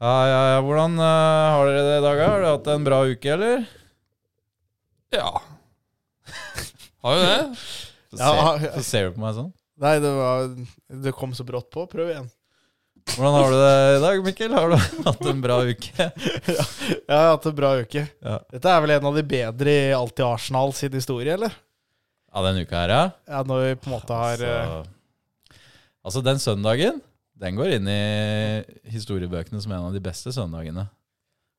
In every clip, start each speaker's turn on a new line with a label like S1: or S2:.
S1: Ja, ja, ja. Hvordan eh, har dere det i dag? Har dere hatt en bra uke, eller?
S2: Ja. Har jo det.
S1: Så
S3: Ja,
S1: ser, så ser du på meg sånn.
S3: Nei, det, var, det kom så brått på. Prøv igjen.
S1: Hvordan har du det i dag, Mikkel? Har du hatt en bra uke?
S3: Jeg har hatt en bra uke.
S1: Ja.
S3: Dette er vel en av de bedre i alt i Arsenal sin historie, eller?
S1: Ja, den uka her, ja.
S3: Ja, når vi på en måte har eh,
S1: altså, altså, den søndagen, den går inn i historiebøkene som en av de beste søndagene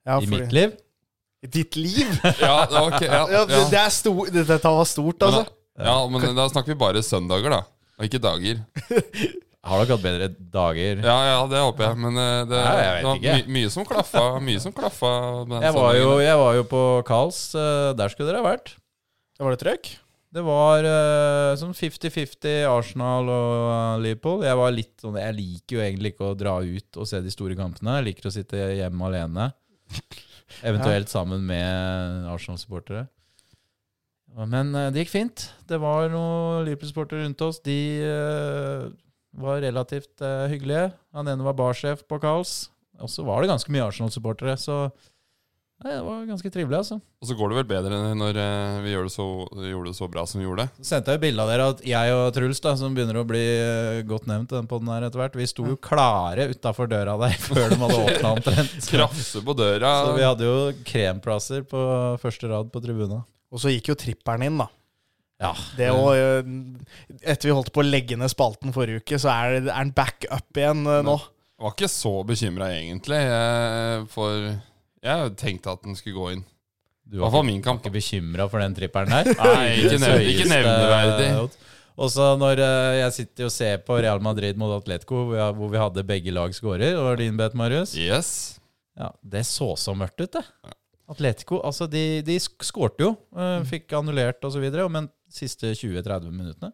S3: ja,
S1: i
S3: fordi-
S1: mitt liv.
S3: I ditt liv?
S2: Ja, det var ikke, ja,
S3: Ja, det,
S2: ja.
S3: det er stor, det- dette var stort, altså.
S2: ja, men eh, da snakker vi bare søndager, da. Og ikke dager.
S1: Jeg har nok hatt bedre dager.
S2: Ja, ja, det håper jeg. Men eh, det,
S1: Ja, jeg vet
S2: det var
S1: ikke.
S2: my, mye som klaffa. Mye som klaffa med den
S1: Jeg var jo,
S2: søndagen.
S1: jeg var jo på Karls. eh, Der skulle dere ha vært.
S3: Da Var det trøkk?
S1: Det var eh, sånn 50-50 Arsenal og eh, Liverpool. Jeg var litt sånn, jeg liker jo egentlig ikke å dra ut og se de store kampene. Jeg liker å sitte hjemme alene, eventuelt sammen med Arsenal-supportere. Men eh, det gikk fint. Det var noen Liverpool-supportere rundt oss. De eh, var relativt eh, hyggelige. Han ene var barsjef på Carls. Og så var det ganske mye Arsenal-supportere, så nei, det var ganske trivelig, altså.
S2: Og så går det vel bedre enn når eh, vi gjør det så, gjorde det så bra som vi gjorde.
S1: Så sendte jeg jo bilde av dere at jeg og Truls, da, som begynner å bli eh, godt nevnt i den podden her etter hvert, vi sto jo klare utafor døra der før de hadde åpna omtrent. Så,
S2: Krafse på døra.
S1: så vi hadde jo kremplasser på første rad på tribuna.
S3: Og så gikk jo tripperen inn, da.
S1: Ja.
S3: Det å, eh, etter vi holdt på å legge ned spalten forrige uke, så er, det- er den back up igjen eh, nå.
S2: Var ikke så bekymra egentlig, eh, for jeg tenkte at den skulle gå inn.
S1: Du
S2: I
S1: var
S2: hvert fall min kamp.
S1: ikke bekymra for den tripperen der?
S2: Nei, ikke
S1: Det
S2: nev- ikke
S1: høyeste- eh,
S2: nevneverdig.
S1: Og så når eh, jeg sitter og ser på Real Madrid mot Atletico, hvor, jeg, hvor vi hadde begge lag scorer, og var det din bet, Marius?
S2: Yes.
S1: Ja, det så så mørkt ut, det. Atletico, altså de, de sk- skårte jo, eh,
S3: Mm.
S1: fikk annullert osv., men siste 20-30 minuttene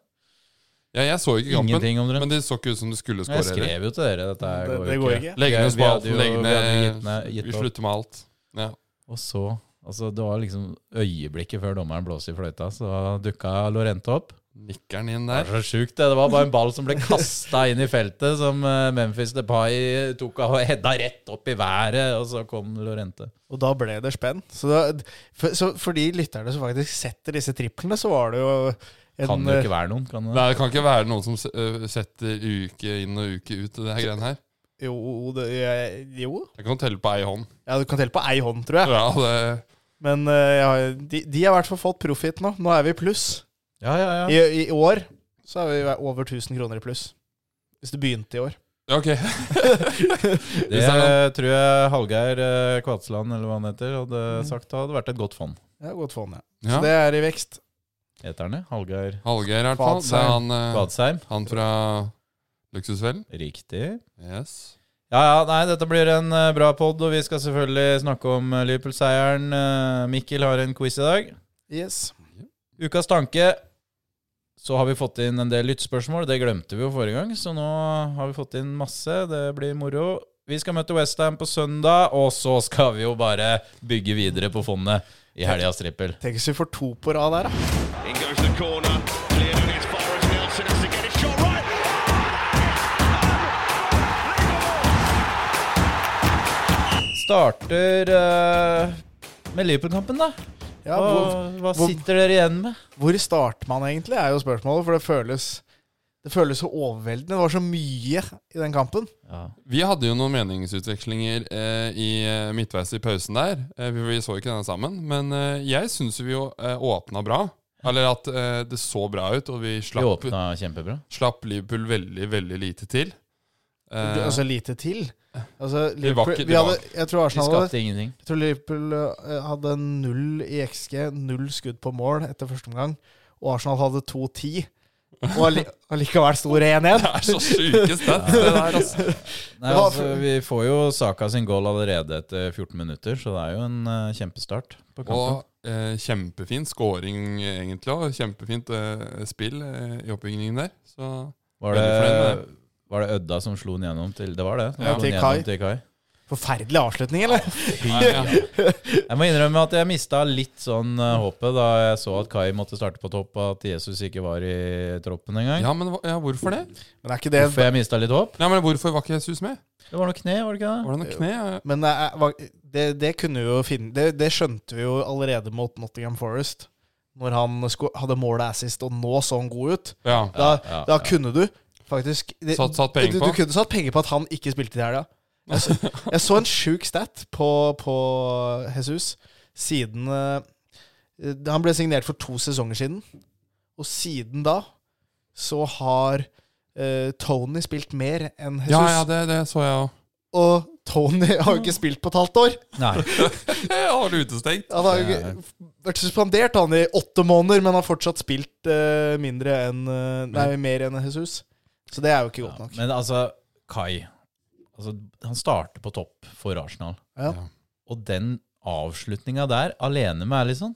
S2: Ja, jeg så ikke kampen,
S1: Ingenting omtrent.
S2: men det så ikke ut som du skulle
S1: Jeg
S2: skåre heller.
S1: skrev jo til dere dette her
S3: Det,
S1: går
S3: det
S1: jo
S3: går ikke.
S2: Legg ned
S1: Vi hadde
S2: spalten,
S1: jo-
S2: legg
S1: vi hadde gitt ned-
S2: ned
S1: gitt
S2: Vi
S1: opp.
S2: slutter med alt. Ja.
S1: Og så Altså, det var liksom øyeblikket før dommeren blåste i fløyta, så dukka Lorente opp.
S2: Nikker den inn
S1: Det
S2: der.
S1: er så sjukt, det. Det var bare en ball som ble kasta inn i feltet, som eh, Memphis Depay tok av og hedda rett opp i været, og så kom Lorente.
S3: Og da ble det spenn. Så, da, for, så for de lytterne som faktisk setter disse triplene, så var det jo en eh,
S1: Kan det jo ikke være noen, kan det?
S2: Nei, det kan ikke være noen som s- øh, setter uke inn og uke ut i det her greiene her.
S3: Jo, det, jeg, jo.
S2: Jeg kan telle på ei hånd.
S3: Ja, du kan telle på ei hånd, tror jeg.
S2: Ja, det,
S3: Men eh, jeg har, de, de har i hvert fall fått profit nå. Nå er vi i pluss.
S1: Ja, ja, ja.
S3: I, I år så er vi over 1000 kroner i pluss. Hvis det begynte i år.
S2: ja ok.
S1: Det
S2: Hvis det er
S1: tror jeg Hallgeir eh, Kvatsland eller hva han heter, hadde
S2: Mm.
S1: sagt det hadde vært et godt fond.
S3: Ja, godt fond, ja. Så
S2: Ja.
S3: det er i vekst.
S1: Heter han det? Hallgeir
S2: Hallgeir, i hvert fall. Det er han, øh,
S1: Kvadsheim.
S2: han fra Luksusfellen.
S1: Riktig.
S2: Yes.
S1: Ja, ja, nei, dette blir en eh, bra pod, og vi skal selvfølgelig snakke om eh, Liverpool-seieren. Eh, Mikkel har en quiz i dag.
S3: Yes.
S1: Ukas tanke. Så har vi fått inn en del lyttspørsmål. Det glemte vi jo forrige gang, så nå har vi fått inn masse. Det blir moro. Vi skal møte Westham på søndag, og så skal vi jo bare bygge videre på fondet i helgas trippel.
S3: Tenk hvis vi får to på rad der, da.
S4: In goes the corner. Cleared on as far as Nelson has to get it shot right.
S1: Starter eh, med Liverpool-kampen, da.
S3: Ja,
S1: hva,
S3: hvor,
S1: hva
S3: hvor-
S1: sitter dere igjen med?
S3: hvor starter man egentlig, er jo spørsmålet. For det føles, det føles så overveldende. Det var så mye i den kampen.
S2: Vi hadde jo noen meningsutvekslinger eh, i eh, midtveis i pausen der. Eh, vi, vi så ikke denne sammen, men eh, jeg syns vi jo eh, åpna bra. Eller at eh, det så bra ut, og vi
S1: Vi
S2: slapp,
S1: åpna kjempebra.
S2: slapp Liverpool veldig, veldig lite til. Eh,
S3: Det- Altså lite til. Altså,
S2: Vi var ikke-
S3: vi hadde, jeg tror
S1: Vi
S3: Arsenal hadde,
S1: skapte ingenting.
S3: jeg tror Liverpool eh, hadde null i XG, null skudd på mål etter første omgang, og Arsenal hadde 2-10. Og alli- allikevel sto det 1-1.
S2: Det er så sjuke stats, det der, altså.
S1: Nei,
S3: Det var-
S1: altså, vi får jo Saka sin goal allerede etter 14 minutter, så det er jo en eh, kjempestart på kampen.
S2: Og eh, kjempefin scoring, eh, egentlig, og kjempefint eh, spill eh, i oppbyggingen der. Så
S1: Var
S2: veldig
S1: det,
S2: fornøyd med
S1: var det Ødda som slo den gjennom til Det var det. som
S2: Ja.
S1: slo den
S3: Til
S1: gjennom
S3: Kai.
S1: Til Kai.
S3: Forferdelig avslutning, eller?
S2: Nei, ja.
S1: Jeg må innrømme at jeg mista litt sånn eh, håpet da jeg så at Kai måtte starte på topp, og at Jesus ikke var i troppen engang.
S2: ja, men hva- ja, hvorfor det?
S3: Men er ikke det
S1: Hvorfor jeg mistet litt håp?
S2: Ja, men Hvorfor var ikke Jesus med?
S1: Det var noe kne, var det ikke det?
S2: Var det noe kne? Ja,
S3: Men det, er- var- det, det kunne vi jo finne det, det skjønte vi jo allerede mot Nottingham Forest. Når han sko- hadde målet assist, og nå så han god ut.
S2: Ja.
S3: Da,
S1: Ja, ja,
S3: da
S1: ja.
S3: kunne du faktisk det,
S2: Satt- satt penger
S3: du,
S2: på?
S3: du kunne satt penger på at han ikke spilte i helga. Jeg, så- jeg så en sjuk stat på, på Jesus siden eh, Han ble signert for to sesonger siden, og siden da så har eh, Tony spilt mer enn Jesus.
S2: ja, ja det, det så jeg òg.
S3: Og Tony har jo ikke spilt på et halvt år.
S1: Nei.
S2: Har du utestengt?
S3: Han har jo
S1: Det er-
S3: ikke- vært suspendert han i åtte måneder, men har fortsatt spilt eh, mindre enn eh,
S2: Mm.
S3: Nei, mer enn Jesus. Så det er jo ikke godt nok.
S1: Men altså, Kai altså, Han starter på topp for Arsenal,
S3: Ja.
S1: og den avslutninga der, alene med Alison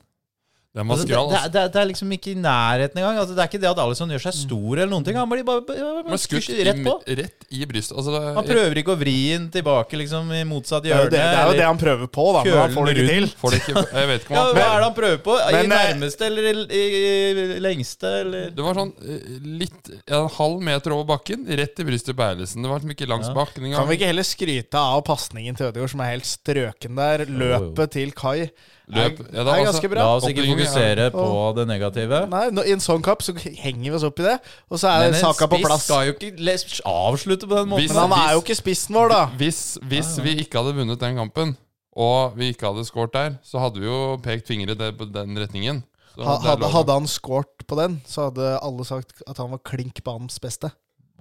S2: Den var
S1: altså, det,
S2: skral.
S1: det,
S2: Altså.
S1: det, det er liksom ikke i nærheten engang. Altså, det er ikke det at Alison gjør seg stor eller noen ting. Han blir bare, bare,
S2: Den var
S1: bare
S2: skutt
S1: skutt
S2: i,
S1: rett på.
S2: rett i brystet. Altså, det,
S1: Han prøver ikke å vri den tilbake liksom, i motsatt
S3: Det er, jo
S1: hjørne.
S3: det, det er jo det han prøver på, da, men
S1: Kjølen
S3: han får det ikke til.
S1: rundt.
S2: Får det ikke, jeg vet ikke om
S1: Ja,
S2: han
S1: hva er det han prøver på? I
S3: Men, eh,
S1: nærmeste eller i, i lengste? Eller?
S2: Det var sånn eh, litt En halv meter over bakken, rett i brystet på Erlesen. Det var liksom ikke langs
S1: Ja.
S2: bakken engang.
S3: Kan vi ikke heller skryte av pasningen til Ødegaard, som er helt strøken der?
S1: Jo, jo.
S3: Løpet til Kai
S2: Løp. Ja, da,
S3: er
S2: altså,
S3: ganske bra.
S1: La oss ikke
S2: Oppbyggingen er-
S1: fokusere på det negative.
S3: Nei, nå- I en sånn kamp så henger vi oss opp i det, og så er
S1: Men en
S3: saka på
S1: spiss
S3: plass.
S1: skal jo ikke les- avslutte på den måten.
S2: Hvis-
S3: Men han er jo ikke spissen vår, da.
S2: Hvis, hvis vi ikke hadde vunnet den kampen, og vi ikke hadde skåret der, så hadde vi jo pekt fingre i det- på den retningen. Så
S3: Ha-
S2: det er
S3: Hadde,
S2: lov.
S3: hadde han scoret på den, så hadde alle sagt at han var klink banens beste.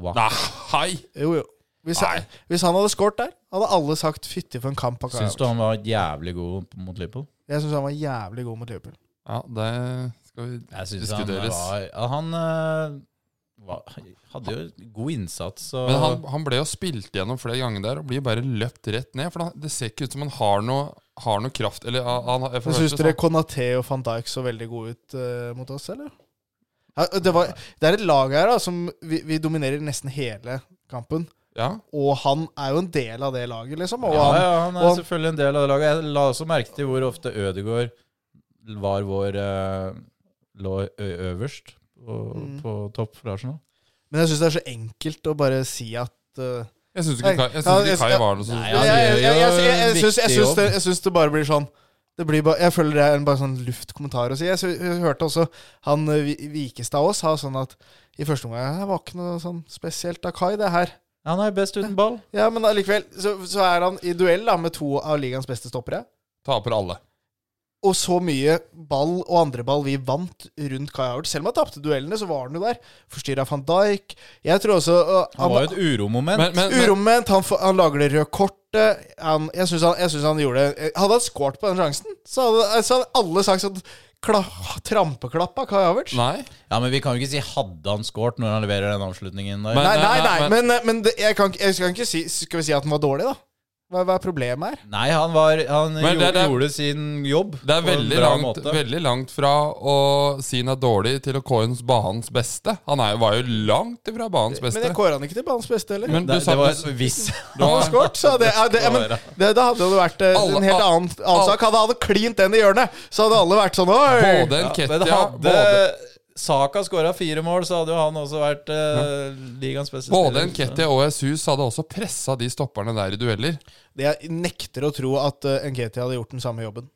S2: Nei, hei!
S3: Jo, jo. Hvis,
S2: Nei.
S3: hvis han hadde scoret der, hadde alle sagt 'fytti for en kamp'. han
S1: Syns du
S3: har gjort».
S1: han var jævlig god mot Liverpool?
S3: Jeg syns han var jævlig god mot Liverpool.
S2: Ja, det skal vi
S1: Jeg synes han
S2: diskuteres.
S1: var ja, Han eh, var, hadde jo god innsats. Og,
S2: Men han, han ble jo spilt gjennom flere ganger der og blir bare løpt rett ned. For han, det ser ikke ut som han har noe, har noe kraft. Eller han- han, for
S3: Men
S2: det
S3: Syns
S2: første
S3: dere
S1: sånn.
S2: så-
S3: Konaté og van Dijk så veldig gode ut eh, mot oss, eller? Ja, det, var, det er et lag her da som vi, vi dominerer nesten hele kampen.
S2: sånn- Ja,
S3: Og han er jo en del av det laget, liksom. Og
S1: ja,
S3: han,
S1: ja, han er
S3: og han-
S1: selvfølgelig en del av det laget. Jeg la også merke til hvor ofte Ødegaard var vår eh, lå ø øverst på, på topp for Arsenal.
S3: Men jeg syns det er så enkelt å bare si at eh,
S2: jeg syns
S3: Nei,
S2: ikke, Kai- jeg
S3: ja,
S2: synes
S3: jeg-
S2: ikke Kai var noe så
S1: Nei,
S3: jeg-
S1: han gjør
S3: jeg-
S1: jo
S3: jeg- jeg- jeg- jeg
S1: en
S3: syns- Jeg
S1: viktig
S3: syns det-
S1: jobb.
S3: jeg syns det bare blir sånn det blir bare, Jeg føler det er en bare sånn luftkommentar å si. Jeg, sy- jeg hørte også han eh, Vi- Vikestad òg sa sånn at i første omgang Det var ikke noe sånn spesielt av Kai, det her.
S1: Han er best uten ball.
S3: Ja, Men allikevel så, så er han i duell da med to av ligaens beste stoppere.
S2: Taper alle.
S3: Og så mye ball og andre ball vi vant rundt Kai Havertz. Selv om han tapte duellene, så var han jo der. Forstyrra van Dijk. Jeg tror også eh,
S1: Han var jo et uromoment.
S2: Men, men, men
S3: Uromoment. Han, får- han lager det røde kortet. Han, jeg syns han, jeg synes han gjorde Hadde han scoret på den sjansen, så hadde, så hadde alle sagt sånn kla, Trampeklapp av Kai Havertz. Nei,
S2: Nei.
S1: Ja, men vi kan jo ikke si 'hadde han scoret' når han leverer den avslutningen der.
S2: Men-
S3: nei, nei.
S2: nei,
S3: men men det, jeg, kan, ikke- jeg skal ikke si Skal vi si at den var dårlig, da? Hva, hva er problemet her?
S1: Nei, han, var, han
S2: Men det-
S1: gjorde,
S2: det er-
S1: gjorde sin jobb.
S2: Det er
S1: på en
S2: veldig
S1: bra
S2: langt,
S1: måte.
S2: veldig langt fra å si han er dårlig, til å kåre hans banens beste. Han er, jo- var jo langt ifra banens beste.
S3: Men jeg kårer han ikke til banens beste heller.
S2: Men
S1: det,
S2: du sa
S1: det var så hvis
S2: du
S3: han har
S2: har-
S3: scoret, så det, ja, det, ja, men, det, da hadde det vært eh,
S2: Alle-
S3: en helt annen, annen
S2: alle-
S3: sak. Hadde han klint den i hjørnet, så hadde alle vært sånn Oi!
S2: både en
S1: Men
S2: Kettia
S1: hadde
S2: både,
S1: Saka skåra fire mål, så hadde jo han også vært eh, ligaens beste
S2: både en
S1: så-
S2: Kettia og Jesus hadde også pressa de stopperne der i dueller.
S3: Det jeg nekter å tro at eh, Nketi hadde gjort den samme jobben.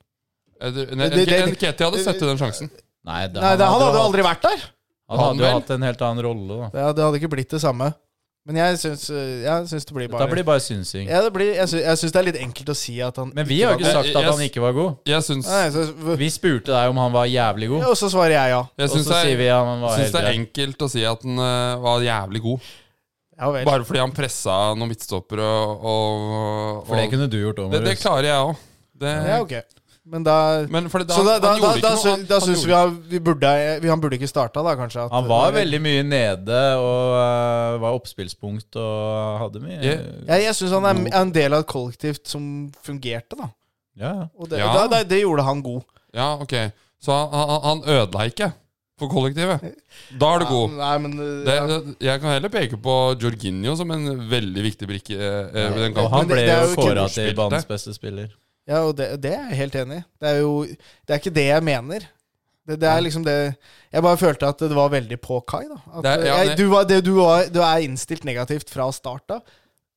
S2: En, Eh, en,
S3: Det- det- det-
S2: en Kettia hadde sett til den sjansen.
S1: Nei, det,
S3: Nei, det, han hadde jo
S1: hatt-
S3: aldri vært der.
S1: han hadde jo
S2: Han vel?
S1: hatt en helt annen rolle, da.
S3: Ja, det hadde ikke blitt det samme. Men jeg syns, eh, jeg syns det blir bare
S1: Dette blir bare synsing.
S3: ja, det blir, jeg, syns, jeg syns det er litt enkelt å si at han
S1: Men vi har jo
S3: var-
S1: ikke sagt at
S2: Jeg-
S1: han ikke var god.
S2: Jeg syns,
S3: Nei, så,
S1: Vi spurte deg om han var jævlig
S3: ja,
S1: god,
S3: Og så svarer jeg ja.
S2: jeg
S1: og så
S2: syns det,
S1: sier vi
S2: er-
S1: at han var
S2: syns
S1: helt
S2: det er
S1: grei.
S2: enkelt å si at han eh, var jævlig god.
S3: Ja vel.
S2: Bare fordi han pressa noen midtstoppere og, og,
S1: For det
S2: og
S1: kunne du gjort òg,
S2: det, det
S1: Marius.
S2: klarer jeg òg.
S3: Ja, ok. Men da
S2: Men fordi da,
S3: Så da, da, da,
S2: han gjorde
S3: da,
S2: ikke noe.
S3: sy-
S2: Han,
S3: da
S2: han
S3: syns
S2: gjorde-
S3: vi han, vi burde, vi, han burde ikke starta, da, kanskje. At,
S1: Han var veldig mye nede og eh, var oppspillspunkt og hadde mye
S2: Ja.
S1: ja.
S3: Jeg, jeg syns han
S2: Mm.
S3: er er en del av et kollektivt som fungerte, da.
S1: ja.
S3: Og det,
S2: Ja.
S3: da, da, det gjorde han god.
S2: Ja, ok. Så han, han, han ødela ikke. for kollektivet. Da er du god.
S3: Nei, men eh,
S2: Det,
S3: ja.
S2: det, jeg kan heller peke på Jorginho som en veldig viktig brikke eh, ved den
S1: Og
S2: kampen.
S3: Men
S1: han
S3: det-
S1: ble
S3: det er
S1: jo
S3: jo
S1: kåra
S2: kulturspill,
S1: til
S2: det.
S1: banens beste spiller.
S3: Ja, og det, det er jeg helt enig i. Det er jo Det er ikke det jeg mener. Det, det er liksom det Jeg bare følte at det var veldig på Kai, da. At
S2: Det er- ja,
S3: jeg,
S2: det-
S3: du, var, det, du, var, du er innstilt negativt fra start av.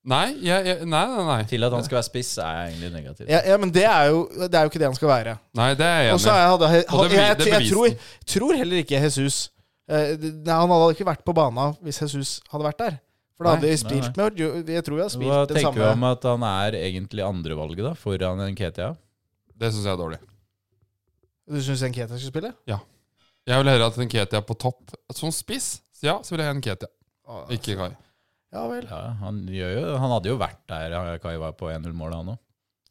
S2: Nei, jeg, jeg, nei, nei, nei.
S1: Til at han skal være spiss, er egentlig negativt.
S3: Ja, ja, men det er, jo, det er jo ikke det han skal være.
S2: nei. Det er jeg
S3: Og så
S2: enig i.
S3: er- hadde he-
S2: Og det
S3: jeg, jeg,
S2: blir- det
S3: jeg,
S2: beviste
S3: tror,
S2: den.
S3: tror heller ikke Jesus eh, det- nei, Han hadde ikke vært på bana hvis Jesus hadde vært der. For da hadde
S2: Nei,
S3: vi
S1: nei,
S3: spilt med jo, Jeg tror vi hadde
S1: Hva
S3: spilt det
S1: tenker vi om
S3: samme.
S1: at han er egentlig andrevalget, da, foran Nketia?
S2: Det syns jeg er dårlig.
S3: Du syns Nketa skulle spille?
S2: Jeg vil heller at Nketia er på topp. Som spiss, så ja, så vil jeg ha Nketia. Ikke Kai.
S3: Ja vel.
S1: Ja, han, gjør jo, han hadde jo vært der eh, Kai var på 1-0-målet, han òg.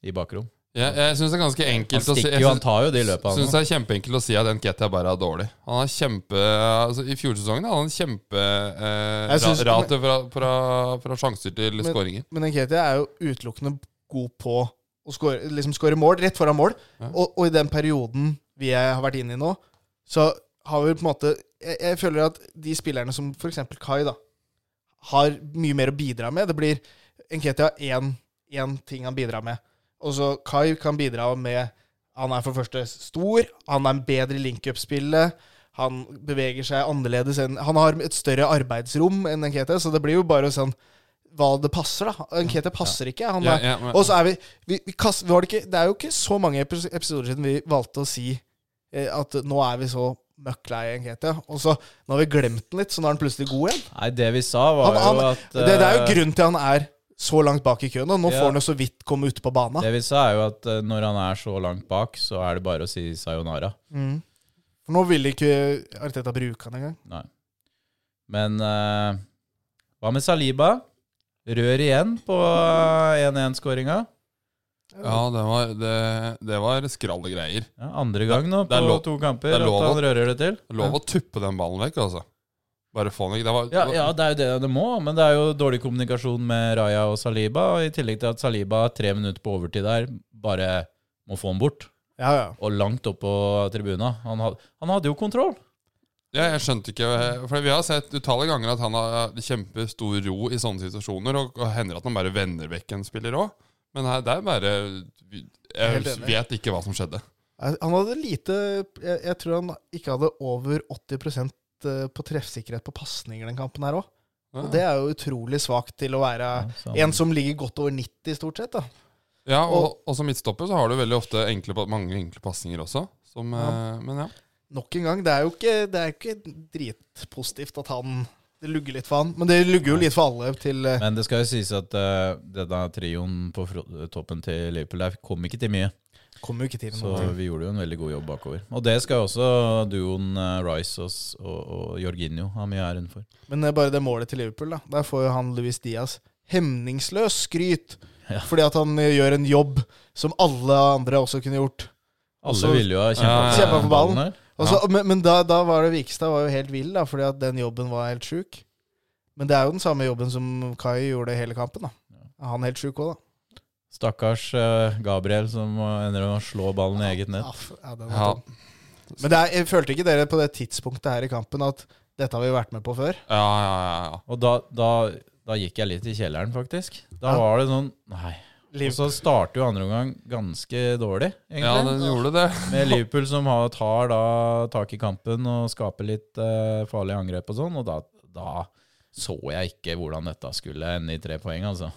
S1: I bakrom.
S2: Jeg, jeg syns det er ganske
S1: Han
S2: enkelt å si
S1: stikker
S2: Jeg
S1: jo, han
S2: syns
S1: tar jo de løpene.
S2: syns det er kjempeenkelt å si at Nketia bare er dårlig. Han er kjempe altså, I fjorårssesongen hadde han
S3: Jeg syns-
S2: kjemperate fra, fra, fra sjanser til
S3: Men-
S2: skåringer.
S3: Men Nketi er jo utelukkende god på å score, liksom score mål, rett foran mål.
S2: Ja.
S3: Og, og i den perioden vi er- har vært inne i nå, så har vi på en måte Jeg, jeg føler at de spillerne som f.eks. Kai, da, har mye mer å bidra med. Det blir Nketi har én, én ting han bidrar med. Og så Kai kan bidra med Han er for det første stor, han er bedre i link-up-spillet. Han beveger seg annerledes enn Han har et større arbeidsrom enn Nketi, så det blir jo bare sånn hva det passer, da. Nketi passer ikke. Han
S2: Ja,
S3: er,
S2: ja, men-
S3: og så er vi, vi, vi kast, var det, ikke, det er jo ikke så mange epis- episoder siden vi valgte å si eh, at nå er vi så møkklei Nketi, og så nå har vi glemt den litt, så nå er han plutselig god igjen.
S1: Nei, det vi sa, var
S3: Han, han,
S1: jo at
S3: det, det er jo
S1: eh,
S3: grunnen til han er så langt bak i køen, og nå
S1: Ja.
S3: får han jo så vidt komme ute på bana.
S1: Det vi sa, er jo at eh, når han er så langt bak, så er det bare å si sayonara.
S3: Mm. For nå vil ikke Arteta bruke han engang.
S1: Nei. Men eh, hva med Saliba? Rør igjen på eh, 1-1-skåringa.
S2: Ja, det var, det, det var skralle greier.
S1: Ja, andre gang nå
S2: Det
S1: på
S2: er lov-
S1: to kamper
S2: det er
S1: at
S2: lov å-
S1: han rører det til.
S2: Lov å tuppe den ballen vekk, altså. Bare få den vekk. Det var,
S1: Ja, ja, det er jo det det må, men det er jo dårlig kommunikasjon med Raja og Saliba. og I tillegg til at Saliba tre minutter på overtid der bare må få han bort.
S3: Ja, ja.
S1: Og langt opp på tribuna. Han, had, han hadde jo kontroll.
S2: Ja, jeg skjønte ikke For vi har sett utallige ganger at han har kjempestor ro i sånne situasjoner, og, og hender at han bare vender vekk en spiller òg. Men her, det er bare
S3: Helt
S2: Jeg
S3: enig.
S2: vet ikke hva som skjedde.
S3: Eh, Han hadde lite Jeg, jeg tror han ikke hadde over 80 på treffsikkerhet på pasninger den kampen her òg. Og det er jo utrolig svakt til å være
S1: Ja, så han-
S3: en som ligger godt over 90, stort sett. da.
S2: Ja, og, og som midtstopper så har du veldig ofte enkle, pa- mange enkle pasninger også. Som, eh, Men ja.
S3: Nok en gang, det er jo ikke, det er jo ikke dritpositivt at han Det lugger litt for han, men det lugger jo litt for alle til eh,
S1: Men det skal jo sies at eh, denne trioen på fro- toppen til Liverpool der kom ikke til mye.
S3: Kommer jo ikke til
S1: Så
S3: noe.
S1: vi gjorde jo en veldig god jobb bakover. Og det skal jo også duoen eh, Rice og, og, og Jorginho ha mye æren for.
S3: Men eh, bare det målet til Liverpool, da. Der får jo han Luis Diaz hemningsløs skryt.
S1: Ja.
S3: Fordi at han eh, gjør en jobb som alle andre også kunne gjort.
S1: Alle
S3: Også-
S1: ville jo ha
S2: Ja,
S1: kjempa
S2: ja, ja.
S3: Kjempet for ballen.
S1: her.
S3: Og så- Men, men da, da var det Vikstad var jo helt vill, da, fordi at den jobben var helt sjuk. Men det er jo den samme jobben som Kai gjorde hele kampen. da. Er Han helt sjuk òg, da.
S1: Stakkars eh, Gabriel som eh, ender med å slå ballen i eget nett.
S3: Ja, Ah, f- ja, den var
S2: ja.
S3: tung. Men det er, jeg følte ikke dere på det tidspunktet her i kampen at dette har vi vært med på før?
S2: Ja, ja, ja, ja.
S1: Og da, da, da gikk jeg litt i kjelleren, faktisk. Da
S3: Ja.
S1: var det sånn Nei. Og
S3: Liv.
S1: så starter jo andre omgang ganske dårlig,
S2: ja,
S1: egentlig.
S2: den gjorde det.
S1: Med Liverpool som har, tar da tak i kampen og skaper litt eh, farlige angrep og sånn. Og da, da så jeg ikke hvordan dette skulle ende i tre poeng, altså.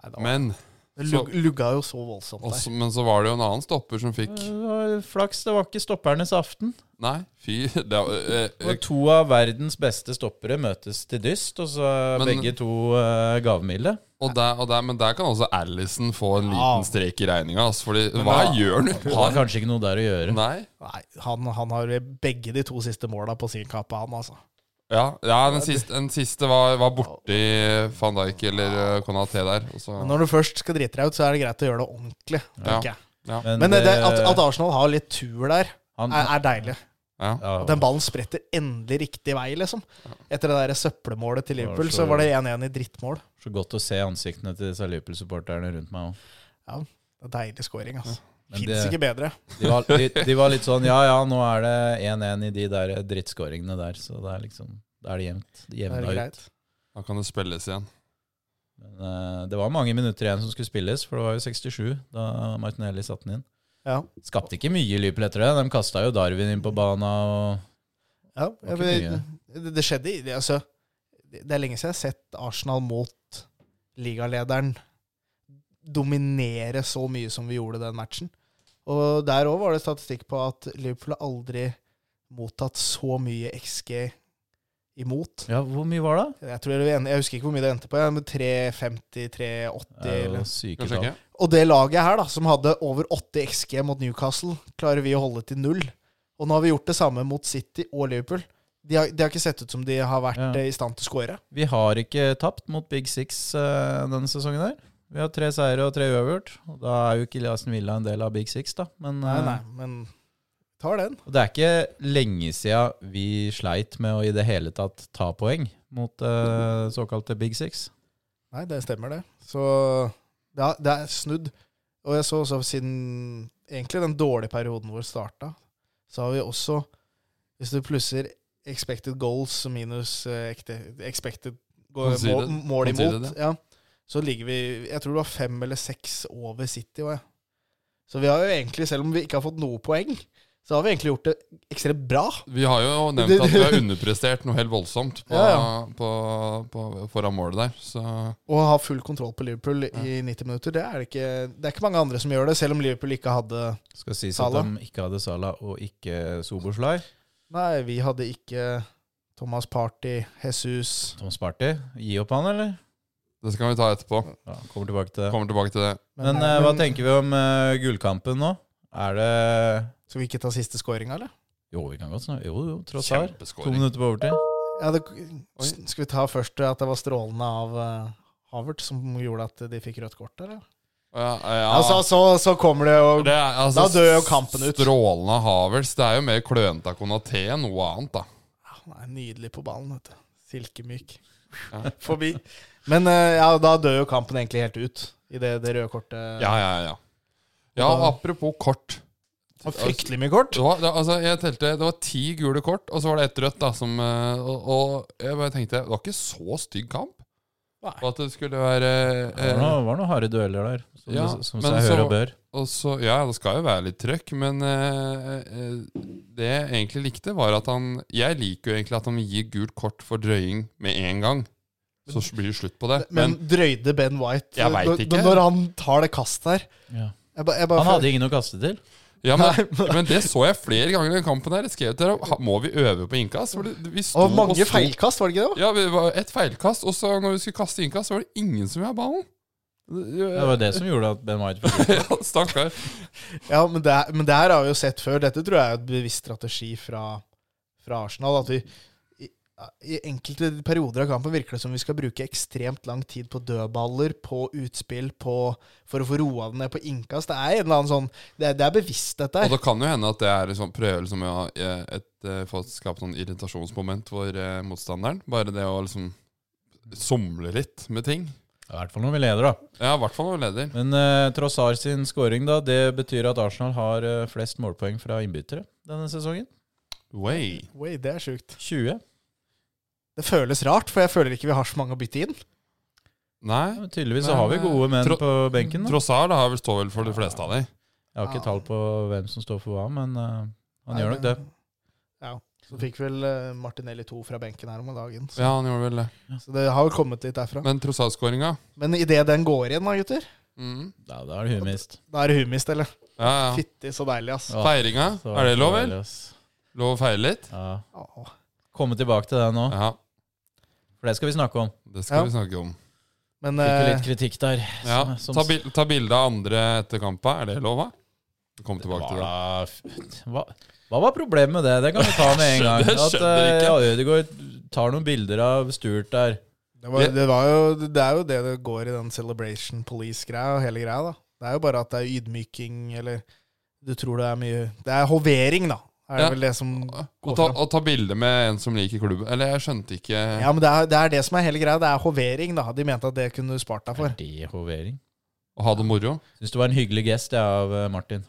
S3: Nei, da-
S2: Men,
S3: det lug, lugga jo så voldsomt der.
S2: også, men så var det jo en annen stopper som fikk
S1: Det var Flaks det var ikke stoppernes aften.
S2: Nei, fy. Det, var- eh, eh,
S1: Og to av verdens beste stoppere møtes til dyst, og så er
S2: Men-
S1: begge to uh, gavmilde.
S2: Og der, og der, men der kan også Allison få en
S3: Ja.
S2: liten strek i regninga. Altså, fordi hva gjør han?
S1: Har kanskje ikke noe der å gjøre.
S2: Nei.
S3: Nei, han, han har begge de to siste måla på sin kappe, han altså.
S2: Ja, ja den siste, den siste var, var borti van Dijk eller eh, Konaté der. Og så,
S3: Men når du først skal drite deg ut, så er det greit å gjøre det ordentlig. tenker jeg.
S2: ja,
S3: Men det, at, at Arsenal har litt tur der,
S1: han-
S3: er, er deilig.
S2: ja.
S1: ja,
S3: At den ballen spretter endelig riktig vei, liksom. Etter det der søppelmålet til Liverpool,
S1: Ja, så-
S3: så var det 1-1 i drittmål.
S1: Så godt å se ansiktene til disse Liverpool-supporterne rundt meg òg.
S3: Det er Deilig scoring, altså.
S1: Men
S3: Fins
S1: det-
S3: ikke bedre.
S1: De var, de, de var litt sånn Ja, ja, nå er det 1-1 i de der drittskåringene der, så det er liksom Da er det jevnt.
S3: Det er
S1: Jevna ut.
S3: greit.
S2: Da kan det spilles igjen.
S1: Men eh, det var mange minutter igjen som skulle spilles, for det var jo 67 da Martinelli satte den inn.
S3: Ja.
S1: Skapte ikke mye i Liverpool etter det. De kasta jo Darwin inn på bana og
S3: Ja,
S1: Det var ikke
S3: men, det, det skjedde i det, altså, det det er lenge siden jeg har sett Arsenal mot ligalederen dominere så mye som vi gjorde den matchen. Og der òg var det statistikk på at Liverpool har aldri mottatt så mye XG imot.
S1: Ja, hvor mye var det?
S3: Jeg, tror jeg, jeg husker ikke hvor mye det endte på, ja, men 3,50, 3,80
S1: Det er jo
S3: eller
S1: syke
S2: Kanskje
S1: tall.
S2: ikke?
S3: og det laget her, da, som hadde over 80 XG mot Newcastle, klarer vi å holde til null. Og nå har vi gjort det samme mot City og Liverpool. De har, de har ikke sett ut som de har vært
S1: Ja.
S3: eh, i stand til å skåre.
S1: Vi har ikke tapt mot Big Six eh, denne sesongen her. Vi har tre seire og tre uavgjort. Og da er jo ikke Aston Villa en del av Big Six, da. Men
S3: Nei,
S1: eh,
S3: nei, men tar den.
S1: Og det er ikke lenge siden vi sleit med å i det hele tatt ta poeng mot eh, såkalte Big Six.
S3: Nei, det stemmer, det. Så det er, det er snudd. Og jeg så også siden egentlig den dårlige perioden vår starta, så har vi også Hvis du plusser expected goals minus eh, ekte, expected go-
S2: Conceded.
S3: mål, mål
S2: Conceded,
S3: imot, ja, så ligger vi Jeg tror det var fem eller seks over City òg, jeg. Så vi har jo egentlig, selv om vi ikke har fått noe poeng, så har vi egentlig gjort det ekstremt bra.
S2: Vi har jo nevnt at vi har underprestert noe helt voldsomt på,
S3: Ja,
S2: på, på, foran målet der. Så
S3: Å ha full kontroll på Liverpool i 90 minutter, det er det ikke, det er ikke mange andre som gjør det, selv om Liverpool ikke hadde
S1: Skal sies
S3: Salah.
S1: at de ikke hadde Sala og ikke Soboslai.
S3: Nei, vi hadde ikke Thomas Party, Jesus
S1: Thomas Party, gi opp han, eller?
S2: det skal vi ta etterpå.
S1: Ja, kommer tilbake til det.
S2: Kommer tilbake til det.
S1: Men eh, hva tenker vi om eh, gullkampen nå? Er det
S3: Skal vi ikke ta siste scoringa, eller?
S1: Jo, vi kan godt snakke. Jo, jo, tross alt. To
S2: Kjempeskåring.
S1: minutter på overtid.
S3: Ja, det, s- skal vi ta først eh, at det var strålende av eh, Havert som gjorde at de fikk rødt kort, eller?
S2: Ja, ja.
S3: Altså, så, så kommer det jo
S2: Det er, altså,
S3: Da dør jo kampen ut.
S2: Strålende av Havels. Det er jo mer klønete av Konaté enn noe annet, da.
S3: Han er nydelig på ballen, vet du. Silkemyk.
S2: Ja.
S3: Forbi. Men eh, ja, da dør jo kampen egentlig helt ut, i det, det røde kortet.
S2: Ja, ja, ja. Ja, og apropos kort.
S3: Det var fryktelig mye kort.
S2: Det var, det, altså, jeg telte, det var ti gule kort, og så var det ett rødt. da som, eh, og, og jeg bare tenkte Det var ikke så stygg kamp.
S3: Nei.
S2: Og at det skulle være
S1: Det
S2: eh,
S1: var noen, var noen harde dueller der, som,
S2: Ja,
S1: du- som
S2: men
S1: seg hør
S2: så-
S1: og bør.
S2: og så, Ja, det skal jo være litt trøkk, men eh, eh, det jeg egentlig likte, var at han Jeg liker jo egentlig at han gir gult kort for drøying med en gang. Så blir det slutt på det.
S3: Men drøyde Ben White
S2: Jeg vet
S3: når-
S2: ikke.
S3: Når han tar det kastet her
S1: Ja.
S3: jeg ba, jeg bare,
S1: Han hadde ingen å kaste til.
S2: Ja, men, men det så jeg flere ganger i den kampen her. Jeg skrev til deg, må vi øve på innkast? For det- Vi sto
S3: Og mange
S2: sto-
S3: feilkast, var det ikke det?
S2: Ja, vi var et feilkast, og så når vi skulle kaste innkast, så var det ingen som ville ha ballen.
S1: Det var det som gjorde at Ben White fikk
S2: Ja, Stakkar.
S3: Ja, men det, men det her har vi jo sett før. Dette tror jeg er et bevisst strategi fra, fra Arsenal. At vi i, i enkelte perioder av kampen virker det som vi skal bruke ekstremt lang tid på dødballer, på utspill, på, for å få roa den ned på innkast. Det er en eller annen sånn Det, er- det er bevisst, dette
S2: Og
S3: her.
S2: det kan jo hende at det er liksom, prøver liksom, å ha, eh, et, eh, for å skape noen irritasjonsmoment for eh, motstanderen. Bare det å liksom somle litt med ting.
S1: I hvert fall når vi leder, da.
S2: Ja, i hvert fall når vi leder.
S1: Men eh, Trossard sin scoring, da, det betyr at Arsenal har eh, flest målpoeng fra innbyttere denne sesongen.
S2: Way.
S3: Oi, det er sjukt.
S1: 20.
S3: Det føles rart, for jeg føler ikke vi har så mange å bytte inn.
S1: Ja,
S2: Nei.
S1: men tydeligvis så
S2: Men, eh,
S1: har vi gode menn
S2: tro-
S1: på benken. Da.
S2: Trossard har vel stå vel for de fleste av dem.
S1: Jeg har ikke tall på hvem som står for hva, men eh, han
S3: Nei,
S1: gjør nok det.
S3: Ja. Så fikk vel eh, Martinelli to fra benken her om dagen. Så,
S2: Ja, han gjorde vel det.
S3: så det har jo kommet litt derfra.
S2: Men Trossard-skåringa
S3: Men idet den går igjen, da, gutter,
S2: mm.
S1: Ja, da er det humist.
S3: da er det humist, eller?
S2: ja, ja.
S3: Fytti, så deilig, ass.
S1: Ja,
S2: Feiringa,
S1: så
S2: er det lov,
S1: deilig,
S2: vel?
S1: ass.
S2: Lov å feire litt?
S1: Ja.
S3: Åh.
S1: Komme tilbake til det nå,
S2: Ja,
S1: for det skal vi snakke om.
S2: det skal
S3: Ja.
S2: vi snakke om.
S3: Men
S1: Fikk jo
S3: eh,
S1: litt kritikk der.
S2: Ja,
S1: som-
S2: ta, bil, ta bilde av andre etter kampa, er det lov, da? Kom tilbake til det.
S1: Hva, hva, hva var problemet med det? Det kan vi ta med en gang.
S2: Det skjønner-
S1: At
S2: det skjønner
S1: uh, Ødegaard tar noen bilder av Sturt der.
S3: det, var, det, var jo, det er jo det det går i den Celebration Police-greia og hele greia, da. Det er jo bare at det er ydmyking, eller du tror det er mye Det er hovering, da. Er det
S2: Ja.
S3: vel det som
S2: Og ta, og ta bilde med en som liker klubben. Eller jeg skjønte ikke
S3: Ja, men det er, det er det som er hele greia. Det er hovering, da. De mente at det kunne du spart deg
S1: Er
S3: for.
S1: det hovering?
S2: å ha det moro.
S1: Syns det var en hyggelig gest jeg, av eh, Martin.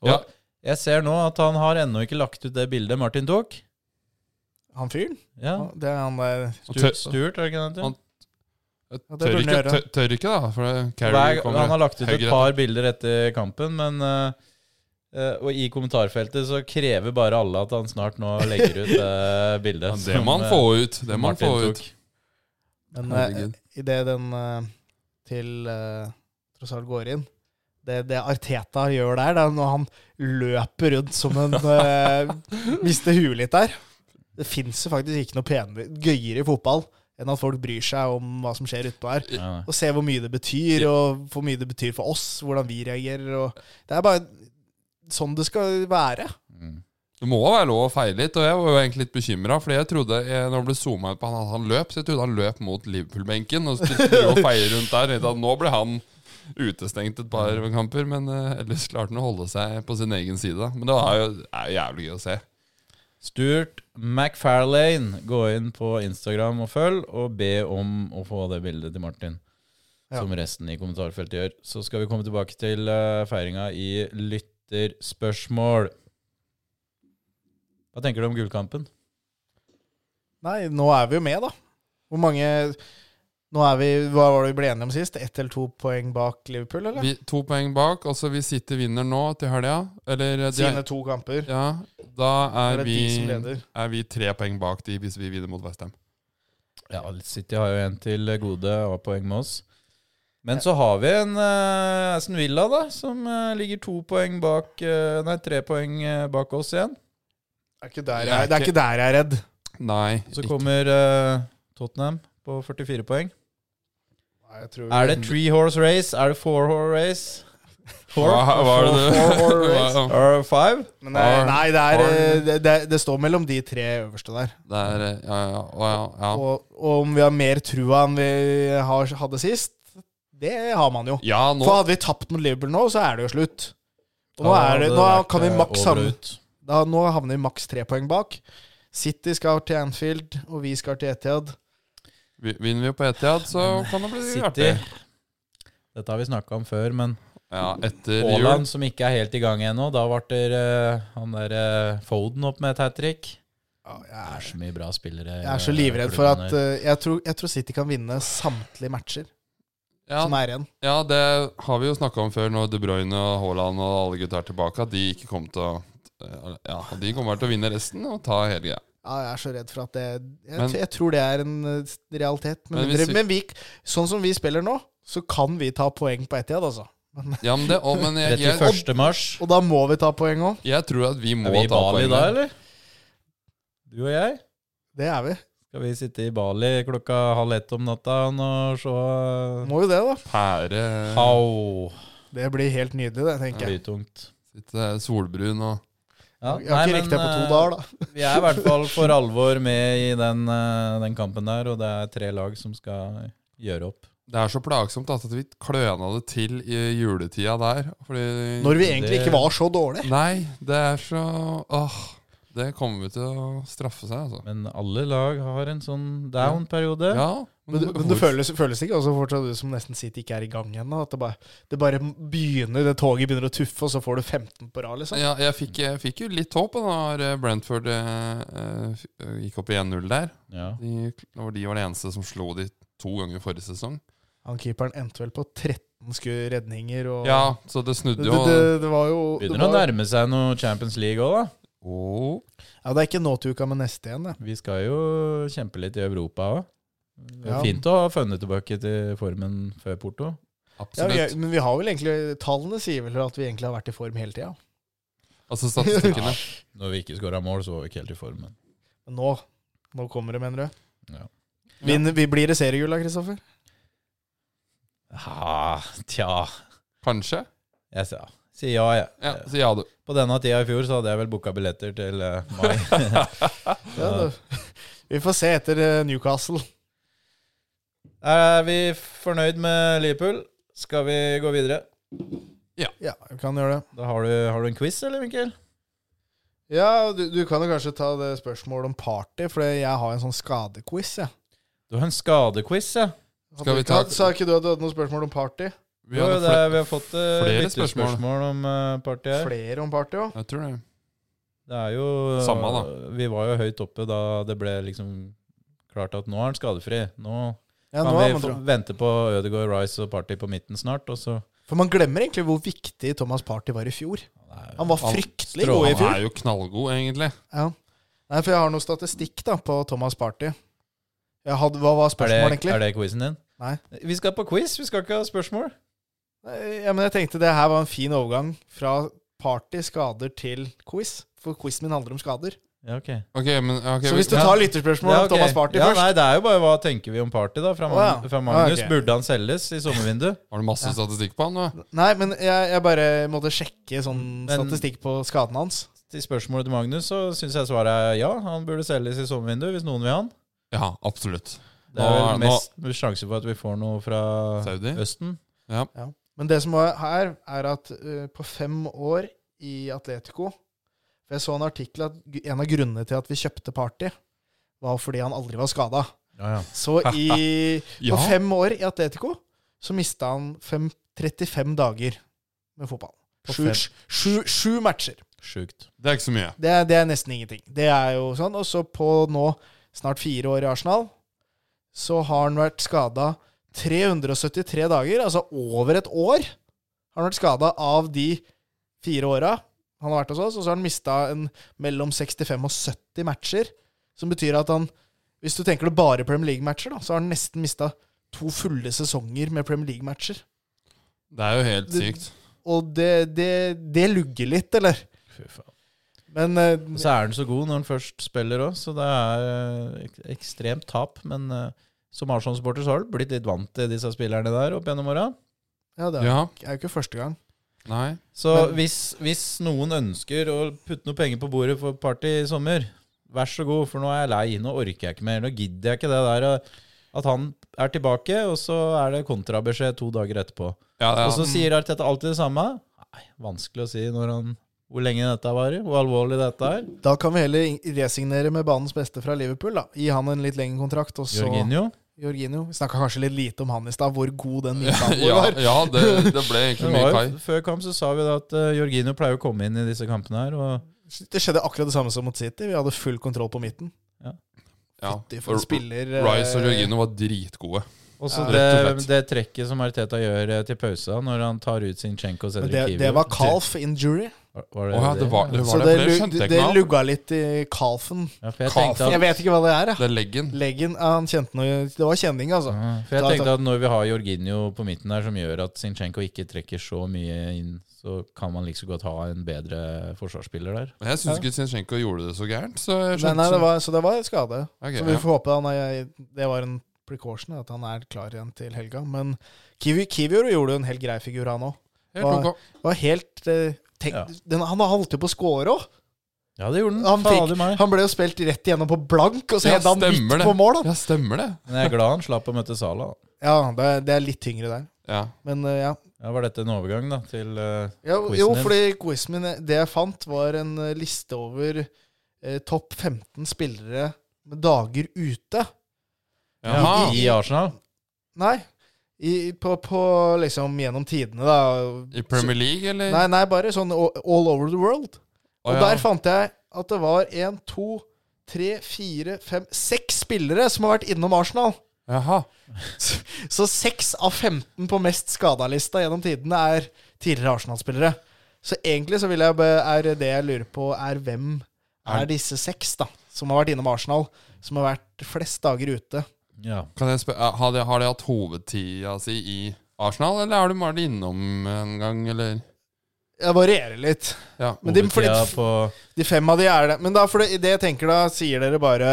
S1: Og
S2: Ja.
S1: jeg ser nå at han har ennå ikke lagt ut det bildet Martin tok.
S3: Han fyren?
S1: Ja,
S3: Det er han der.
S2: Han
S1: Stuart,
S2: tør-
S1: Stuart er det ikke det?
S2: Han-
S1: Han,
S3: Ja, det
S2: Tør
S3: burde
S2: ikke,
S3: han gjøre.
S2: tør, tør ikke, da. For det- Carey
S1: Hver,
S2: kommer
S1: han har lagt ut et
S2: høyere.
S1: par bilder etter kampen, men eh, eh, Og i kommentarfeltet så krever bare alle at han snart nå legger ut eh, bildet.
S2: Ja, Det
S1: som,
S2: må
S1: eh,
S2: han få ut. Det må han
S1: Martin
S2: få
S1: tok.
S2: ut.
S3: Men eh,
S2: Herregud.
S3: i det den eh, til eh, tross alt går inn det, det Arteta gjør der, det er når han løper rundt som en eh, Mister huet litt der. Det fins jo faktisk ikke noe penere, gøyere i fotball enn at folk bryr seg om hva som skjer utpå her.
S1: Ja, ja.
S3: Og ser hvor mye det betyr, og hvor mye det betyr for oss, hvordan vi reagerer. Og det er bare sånn det skal være.
S1: Mm.
S2: Det må være lov å feile litt, og jeg var jo egentlig litt bekymra. Fordi jeg trodde eh, når det ble zoomet ut på han at han løp, så jeg trodde han løp mot Liverpool-benken og skulle prøve å feile rundt der. tenkte at Nå ble han utestengt et par kamper, men eh, ellers klarte han å holde seg på sin egen side. da. Men det er jo, er jo jævlig gøy å se.
S1: Stuart McFarlane, gå inn på Instagram og følg, og be om å få det bildet til Martin.
S3: Ja.
S1: Som resten i kommentarfeltet gjør. Så skal vi komme tilbake til eh, feiringa i lytterspørsmål. Hva tenker du om gullkampen?
S3: Nei, nå er vi jo med, da. Hvor mange Nå er vi, Hva var det vi ble enige om sist? Ett eller to poeng bak Liverpool, eller?
S2: Vi, to poeng bak. Altså, vi sitter vinner nå til helga. Eller eh, de,
S3: Sine to kamper.
S2: ja, da
S3: det
S2: er
S3: er
S2: vi,
S3: de som leder.
S2: er vi tre poeng bak de hvis vi vinner mot Westham.
S1: Ja, City har jo en til gode og har poeng med oss. Men så har vi en eh, Aston Villa, da, som eh, ligger to poeng bak eh, Nei, tre poeng eh, bak oss igjen.
S3: Det er ikke der
S2: Det er
S3: jeg, det er,
S2: ikke-
S3: ikke der jeg er redd.
S2: Nei.
S1: Så
S2: ikke-
S1: kommer eh, Tottenham på 44 poeng.
S3: Nei, jeg tror
S1: Er det three horse race? Er det four horse race?
S2: Hva,
S1: Four?
S2: hva er det du
S3: Four- four race.
S2: Hva-
S1: Or five?
S3: Men det, er-
S2: Arn-
S3: nei, det, er, eh,
S2: Arn-
S3: det, det, det står mellom de tre øverste der.
S2: Det er eh, Ja, ja. å, ja, ja.
S3: Og, og om vi har mer trua enn vi har, hadde sist, det har man jo.
S2: ja nå,
S3: For hadde vi tapt mot Liverpool nå, så er det jo slutt. Og nå,
S1: Da
S3: er det,
S1: hadde
S3: nå
S1: vært,
S3: kan vi
S1: eh, over
S3: maks
S1: og
S3: sammen.
S1: ut.
S3: Da, nå havner vi maks tre poeng bak. City skal til Anfield, og vi skal til Etihad.
S2: vi- vinner vi på Etihad, så kan det bli
S1: City
S2: artig.
S1: Dette har vi snakka om før, men
S2: Ja, etter jul.
S1: Haaland, som ikke er helt i gang ennå Da ble det eh, han der eh, Foden opp med et hat trick.
S3: jeg,
S1: Det er
S3: er,
S1: så mye bra spillere.
S3: jeg er så livredd for at eh, jeg tror, jeg tror City kan vinne samtlige matcher
S2: Ja,
S3: som er igjen.
S2: ja, det har vi jo snakka om før, når De Bruyne og Haaland og alle gutta er tilbake, at de ikke kom til å Ja, de kommer til å vinne resten og ta hele greia.
S3: Ja, jeg er så redd for at det Jeg,
S2: Men-
S3: jeg tror det er en eh, realitet. Men,
S2: Men
S3: mindre-
S2: hvis vi-
S3: men vi, sånn som vi spiller nå, så kan vi ta poeng på Etihad, altså.
S2: Ja, men det, å, men jeg, jeg,
S1: 31. mars.
S3: Og da må vi ta poeng òg.
S2: jeg tror at vi må
S1: Er vi i
S2: ta
S1: Bali da,
S2: poengene.
S1: eller? Du og jeg?
S3: Det er vi.
S1: Skal vi sitte i Bali klokka halv ett om natta og se
S3: Må jo det, da.
S2: Pære
S1: Au!
S3: Det blir helt nydelig, det, tenker jeg.
S1: Blytungt.
S2: Sitte solbrun og
S1: Ja,
S3: Jeg har ikke
S1: nei, men,
S3: rekt det på to
S1: eh,
S3: dager, da.
S1: Vi er i hvert fall for alvor med i den, eh, den kampen der, og det er tre lag som skal gjøre opp.
S2: Det er så plagsomt at vi kløna det til i juletida der. Fordi
S3: Når vi egentlig
S1: det-
S3: ikke var så dårlige.
S2: Nei, det er så Åh, det kommer til å straffe seg, altså.
S1: Men alle lag har en sånn down-periode.
S2: Ja,
S3: Men, det- men det
S2: hvorfor-
S3: føles, føles ikke også fortsatt ut som nesten City ikke er i gang ennå. At det bare, det bare begynner, det toget begynner å tuffe, og så får du 15 på rad, liksom.
S2: ja, jeg, fikk, jeg fikk jo litt håp da Brentford eh, eh, f- eh, gikk opp i 1-0 der.
S1: Ja.
S2: De, det var de var det eneste som slo de to ganger forrige sesong.
S3: Han keeperen endte vel på 13 sku- redninger og
S2: Ja, så det snudde
S3: Det,
S2: jo.
S3: det, det, det var jo det,
S1: Begynner å
S3: var,
S1: nærme seg noe Champions League òg, da.
S2: Åh,
S3: ja, det er ikke nå til uka, men neste igjen. Det.
S1: Vi skal jo kjempe litt i Europa òg.
S3: Ja.
S1: Fint å ha funnet tilbake til formen før Porto.
S3: Ja, vi, er-
S2: absolutt.
S3: men vi har vel egentlig Tallene sier vel at vi egentlig har vært i form hele tida.
S2: Altså statistikkene.
S1: Når vi ikke skåra mål, så var vi ikke helt i formen.
S3: Men nå, nå kommer det, mener du?
S1: Ja.
S3: Vinner- vi blir i seriegull da, Kristoffer?
S1: Ha, tja
S2: Kanskje?
S1: Jeg sa sier ja, jeg.
S2: Ja, så ja, du.
S1: På denne tida i fjor så hadde jeg vel booka billetter til eh, mai.
S3: Ja. da. Vi får se etter eh, Newcastle.
S1: er vi fornøyd med Liverpool? Skal vi gå videre?
S3: Ja, vi kan gjøre det.
S1: Da har du, har du en quiz, eller, Mikkel?
S3: Ja, du, du kan jo kanskje ta det spørsmålet om party, for jeg har en sånn skadequiz. jeg.
S1: Du har en skadequiz, ja.
S3: Hadde
S2: Skal vi
S3: ikke
S2: ta-
S3: hatt- Sa ikke du at du hadde noe spørsmål om party?
S2: Vi
S1: jo,
S2: hadde
S1: det er,
S2: fle-
S1: vi har fått eh,
S2: flere
S1: lytterspørsmål om eh, partiet her.
S3: Flere om party òg.
S2: Jeg tror det.
S1: Det er jo eh,
S2: Samme, da.
S1: Vi var jo høyt oppe da det ble liksom klart at nå er han skadefri. Nå
S3: Ja,
S1: kan
S3: nå er
S1: vi
S3: man
S1: få
S3: dra.
S1: vente på Ødegaard, Rice og Party på midten snart, og så
S3: For man glemmer egentlig hvor viktig Thomas Party var i fjor. Han var
S2: Han-
S3: fryktelig god i
S2: Han
S3: fjor.
S2: er jo knallgod, egentlig.
S3: Ja. Nei, for jeg har noe statistikk da på Thomas Party. Jeg hadde, hva var
S1: Er det,
S3: spørsmålet, egentlig?
S1: er det quizen din?
S3: Nei.
S1: Vi skal på quiz, vi skal ikke ha spørsmål.
S3: Nei, Ja, men jeg tenkte det her var en fin overgang fra party, skader, til quiz. For quizen min handler om skader.
S1: Ja, ok.
S2: Ok, men ok,
S3: Så
S2: vi-
S3: hvis du
S1: ja.
S3: tar lytterspørsmål
S1: Ja,
S3: om
S1: ok.
S3: Thomas Party
S1: ja,
S3: først
S1: Nei, det er jo bare hva tenker vi om Party, da, fra,
S3: Å,
S1: Mag-
S3: ja.
S1: fra Magnus.
S3: Ja, ok.
S1: Burde han selges i sommervinduet?
S2: Har du masse
S3: Ja.
S2: statistikk på han? da?
S3: Nei, men jeg, jeg bare måtte sjekke sånn
S1: Mm, Men-
S3: statistikk på skadene hans.
S1: Til spørsmålet til Magnus så syns jeg svaret er ja. Han burde selges i sommervinduet hvis noen vil ha han.
S2: Ja, absolutt.
S1: Det er
S2: Nå-
S1: vel mest sjanse for at vi får noe fra
S2: Saudi?
S1: Østen.
S3: Ja. Men det som var her, er at eh, på fem år i Atletico For jeg så en artikkel at gu- en av grunnene til at vi kjøpte Party, var fordi han aldri var skada.
S1: Ja, ja.
S3: Så i,
S2: Ja.
S3: på fem år i Atletico så mista han fem, 35 dager med fotball.
S1: På
S3: Sju,
S1: fem.
S3: sju, sju matcher.
S1: Sjukt.
S2: Det er ikke så mye.
S3: Det er, det er nesten ingenting. Det er jo sånn. Og så på nå snart fire år i Arsenal, så har han vært skada 373 dager, altså over et år. Har han vært skada av de fire åra han har vært hos oss, og så har han mista mellom 65 og 70 matcher. Som betyr at han, hvis du tenker det bare Premier League-matcher, da, så har han nesten mista to fulle sesonger med Premier League-matcher.
S2: Det er jo helt
S3: Det-
S2: sykt.
S3: Og det, det, det lugger litt, eller?
S1: Fy faen.
S3: Men eh,
S1: Og så er han så god når han først spiller òg, så det er eh, ek- ekstremt tap. Men eh, som Arsenal-supporter så har du blitt litt vant til disse spillerne der opp gjennom åra.
S3: ja, det er
S2: Ja,
S3: det er jo ikke første gang.
S2: nei.
S1: Så
S3: Men-
S1: hvis, hvis noen ønsker å putte noe penger på bordet for party i sommer, vær så god, for nå er jeg lei. Nå orker jeg ikke mer. Nå gidder jeg ikke det der eh, at han er tilbake, og så er det kontrabeskjed to dager etterpå.
S2: Ja, ja.
S1: Og så sier Arteta alltid det samme. Nei, vanskelig å si når han, hvor lenge dette varer, hvor alvorlig dette er.
S3: Da kan vi heller in- resignere med banens beste fra Liverpool. da. Gi han en litt lengre kontrakt. Og så
S1: Jorginho.
S3: Jorginho. Vi snakka kanskje litt lite om han i stad, hvor god den midtbanen vår
S2: ja,
S3: var.
S2: ja det, det ble
S1: Det
S2: egentlig mye
S1: var
S2: kai.
S1: jo, før kamp så sa vi da at eh, Jorginho pleier å komme inn i disse kampene her. Og
S3: Det skjedde akkurat det samme som mot City. Vi hadde full kontroll på midten.
S2: Ja.
S3: Fytti for en spiller eh,
S2: Rice og Jorginho var dritgode.
S1: også
S2: Rett og
S1: det, det trekket som Arteta gjør eh, til pausa når han tar ut Sinchenko og
S3: Men
S1: Cedric
S3: det,
S1: Kiwi.
S3: det var calf injury,
S1: Var- var
S2: Å ja, det var det,
S3: så
S2: var
S3: det,
S2: det, for det
S3: lu-
S2: skjønte
S3: det,
S2: jeg ikke noe av.
S3: lugga litt i calfen.
S1: Ja, for jeg
S2: Calf.
S1: tenkte
S3: Jeg
S1: at,
S3: vet ikke hva det er. jeg.
S2: Det er leggen.
S3: Leggen ja, Han kjente noe Det var kjenning, altså.
S1: Ja, for
S3: Da-
S1: jeg tenkte at når vi har Jorginho på midten der, som gjør at Sinchenko ikke trekker så mye inn, så kan man like så godt ha en bedre forsvarsspiller der.
S2: Men Jeg syns ikke Zinchenko gjorde det så gærent. Så jeg
S3: Nei,
S2: skjønte
S3: nei, det var, så det var skade.
S2: Ok,
S3: så vi
S2: ja.
S3: får håpe han er, det var en precaution, at han er klar igjen til helga. Men Kiwi, Kiwi gjorde jo en helt grei figur, han òg.
S2: Helt ok.
S3: var helt eh, tenk,
S1: Ja.
S3: den, Han holdt jo på å score òg.
S1: Ja, det gjorde
S3: Han
S1: han.
S3: fikk-
S1: Fader meg.
S3: Han ble jo spilt rett igjennom på blank, og så
S2: Ja,
S3: hedda han
S2: stemmer
S3: midt
S2: det.
S3: på mål. Da.
S2: Ja, stemmer det.
S1: Men jeg er glad han slapp å møte Sala.
S3: Ja, det, er- det er litt tyngre der.
S2: Ja.
S3: Men eh, ja.
S1: Ja, var dette en overgang da, til eh,
S3: ja
S1: Quizen
S3: jo,
S1: din.
S3: fordi quizen min Det jeg fant, var en eh, liste over eh, topp 15 spillere med dager ute.
S2: Jaha.
S1: i Arsenal?
S3: Nei. I, på, på liksom gjennom tidene, da.
S2: I Premier League, eller?
S3: Nei, nei, bare sånn all all over the world.
S2: Å,
S3: Og
S2: ja.
S3: der fant jeg at det var én, to, tre, fire, fem, seks spillere som har vært innom Arsenal.
S2: Jaha.
S3: Så seks av 15 på mest skada-lista gjennom tidene er tidligere Arsenal-spillere. Så egentlig så vil jeg be, er det jeg lurer på, er hvem er disse seks da, som har vært innom Arsenal, som har vært flest dager ute?
S1: Ja.
S2: Kan jeg spør, har, de, har de hatt hovedtida si i Arsenal, eller har de vært innom en gang, eller?
S3: Jeg varierer litt.
S2: Ja.
S3: Men de, fordi,
S1: Hovedtida på
S3: de fem av de er det. Men da, for det, det jeg tenker da, sier dere bare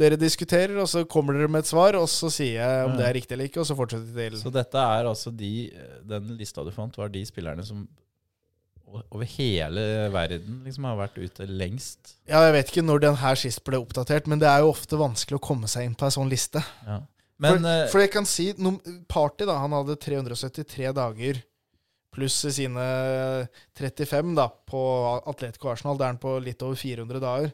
S3: Dere diskuterer, og så kommer dere med et svar, og så sier jeg om det er riktig eller ikke, og så fortsetter vi til
S1: Så dette er altså de Den lista du fant, var de spillerne som over hele verden liksom har vært ute lengst.
S3: Ja, jeg vet ikke når den her sist ble oppdatert, men det er jo ofte vanskelig å komme seg inn på ei sånn liste.
S1: Ja. Men eh,
S3: for, for jeg kan si nom, Party, da, han hadde 373 dager pluss sine 35 da, på Atletico Arsenal. Det er han på litt over 400 dager.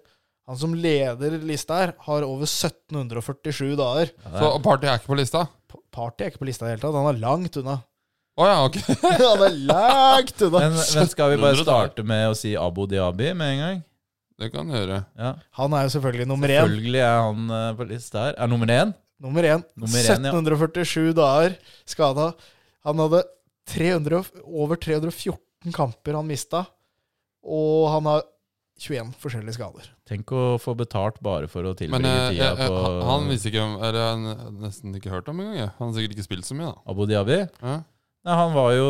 S3: Han som leder lista her, har over 1747 dager.
S1: ja, det er-
S2: Så Party er ikke på lista?
S3: Pa- Party er ikke på lista i det hele tatt. Han er langt unna.
S2: Å ja, ok.
S3: Han er langt unna.
S1: Men, men skal vi bare
S2: 1700
S1: starte med å si Abu Diabi med en gang?
S2: Det kan du gjøre.
S1: Ja.
S3: Han er jo selvfølgelig nummer én.
S1: Følgelig er han eh, på lista her. Er nummer én?
S3: Nummer én.
S1: Nummer én, ja.
S3: 1747 dager skada. Han hadde 300, og- over 314 kamper han mista, og han har 21 forskjellige skader.
S1: Tenk å få betalt bare for å
S2: Men
S1: tilbringe
S2: eh,
S1: tida
S2: jeg- jeg-
S1: på
S2: han- han visste ikke om Eller jeg har nesten ikke hørt om engang. jeg. Han har sikkert ikke spilt så mye, da.
S1: Abu Diabi.
S2: Ja.
S1: Nei, han var jo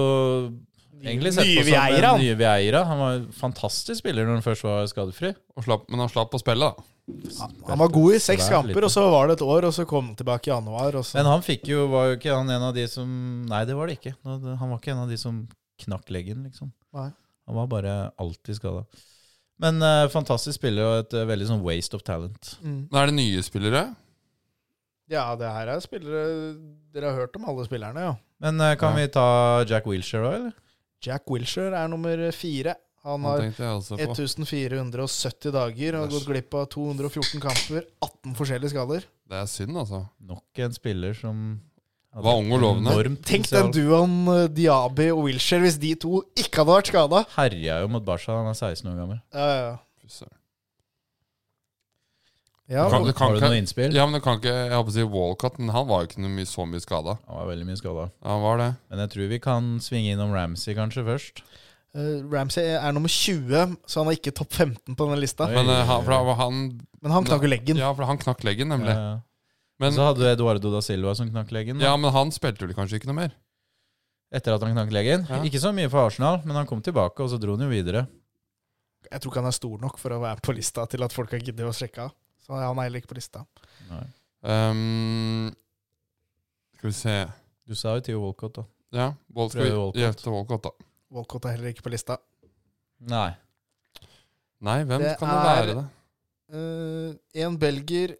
S1: egentlig sett
S3: Nye
S1: på som
S3: Vieira,
S1: den
S3: han.
S1: nye Vieira. Han var en fantastisk spiller når han først var skadefri.
S2: Og slapp, men han slapp å spille, da.
S3: Han var god i seks
S1: Svært
S3: kamper,
S1: lite.
S3: og så var det et år, og så kom han tilbake i januar. Og så.
S1: Men han fikk jo, var jo ikke han en av de som Nei, det var det ikke. Nå- det- Han var ikke en av de som knakk leggen, liksom.
S3: Nei.
S1: Han var bare alltid skada. Men eh, fantastisk spiller og et eh, veldig sånn waste of talent.
S3: Mm.
S2: Men Er det nye spillere?
S3: Ja, det her er spillere Dere har hørt om alle spillerne, ja.
S1: Men eh, kan
S2: Ja.
S1: vi ta Jack Wilshere òg, eller?
S3: Jack Wilshere er nummer fire. Han
S2: Han
S3: har
S2: tenkte jeg også på.
S3: 1470 dager og har gått glipp av 214 kamper, 18 forskjellige skader.
S2: Det er synd, altså.
S1: Nok en spiller som hadde
S2: Var ung og lovende.
S1: enormt
S3: Tenk den
S1: potensial.
S3: duoen eh, Diaby og Wilshere, hvis de to ikke hadde vært skada.
S1: Herja jo mot Barca, han er 16 år gammel.
S3: Ja, ja,
S2: Fy søren.
S3: ja.
S2: Du kan-
S3: og-
S2: du kan
S1: Har du
S2: ikke-
S1: noe innspill?
S2: Ja, men det kan ikke Jeg holdt på å si Walcott, men han var jo ikke noe mye, så mye skada.
S1: Han var veldig mye skada.
S2: Han var det.
S1: Men jeg tror vi kan svinge innom Ramsey kanskje først.
S3: eh, Ramsey er nummer 20, så han er ikke topp 15 på denne lista.
S1: Oi.
S2: Men eh, han, for han, han
S3: Men han knakk jo leggen.
S2: Ja, for han knakk leggen, nemlig.
S1: Eh,
S2: Men,
S1: så hadde du Eduardo da Silva som knakk leggen. da,
S2: ja, men han spilte vel kanskje ikke noe mer?
S1: Etter at han knakk leggen.
S2: Ja.
S1: Ikke så mye for Arsenal, men han kom tilbake, og så dro han jo videre.
S3: Jeg tror ikke han er stor nok for å være på lista til at folk har giddet å sjekke av. Så han er heller ikke på lista.
S1: Nei.
S2: Ehm, skal vi se
S1: Du sa jo Theo Walcott, da.
S2: Ja, Wal- skal
S1: Prøve Walcott.
S2: vi gjette Walcott, da?
S3: Walcott er heller ikke på lista.
S1: Nei.
S2: Nei, hvem
S3: Det
S2: kan det
S3: er-
S2: være, da?
S3: Eh, en belgier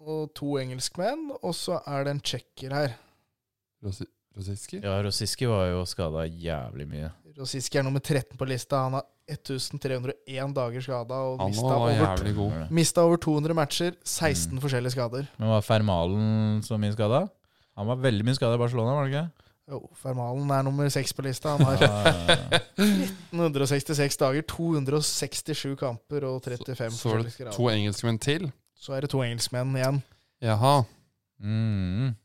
S3: og to engelskmenn, og så er det en tsjekker her.
S2: Rosi- Rosiski?
S1: Ja, Rosiski var jo skada jævlig mye.
S3: Rosiski er nummer 13 på lista. Han har 1301 dager skada og
S2: Han
S3: mista
S2: var
S3: over,
S2: jævlig Mm. god.
S3: mista over 200 matcher. 16 forskjellige skader.
S1: Men var Fermalen så mye skada? Han var veldig mye skada i Barcelona, var han ikke?
S3: Jo, Fermalen er nummer 6 på lista. Han har
S1: Ja,
S3: 166 dager, 267 kamper og 35
S2: Så var
S3: forskjellige
S2: det
S3: skader.
S2: to engelskmenn til.
S3: Så er det to engelskmenn igjen.
S2: Jaha.
S1: mm.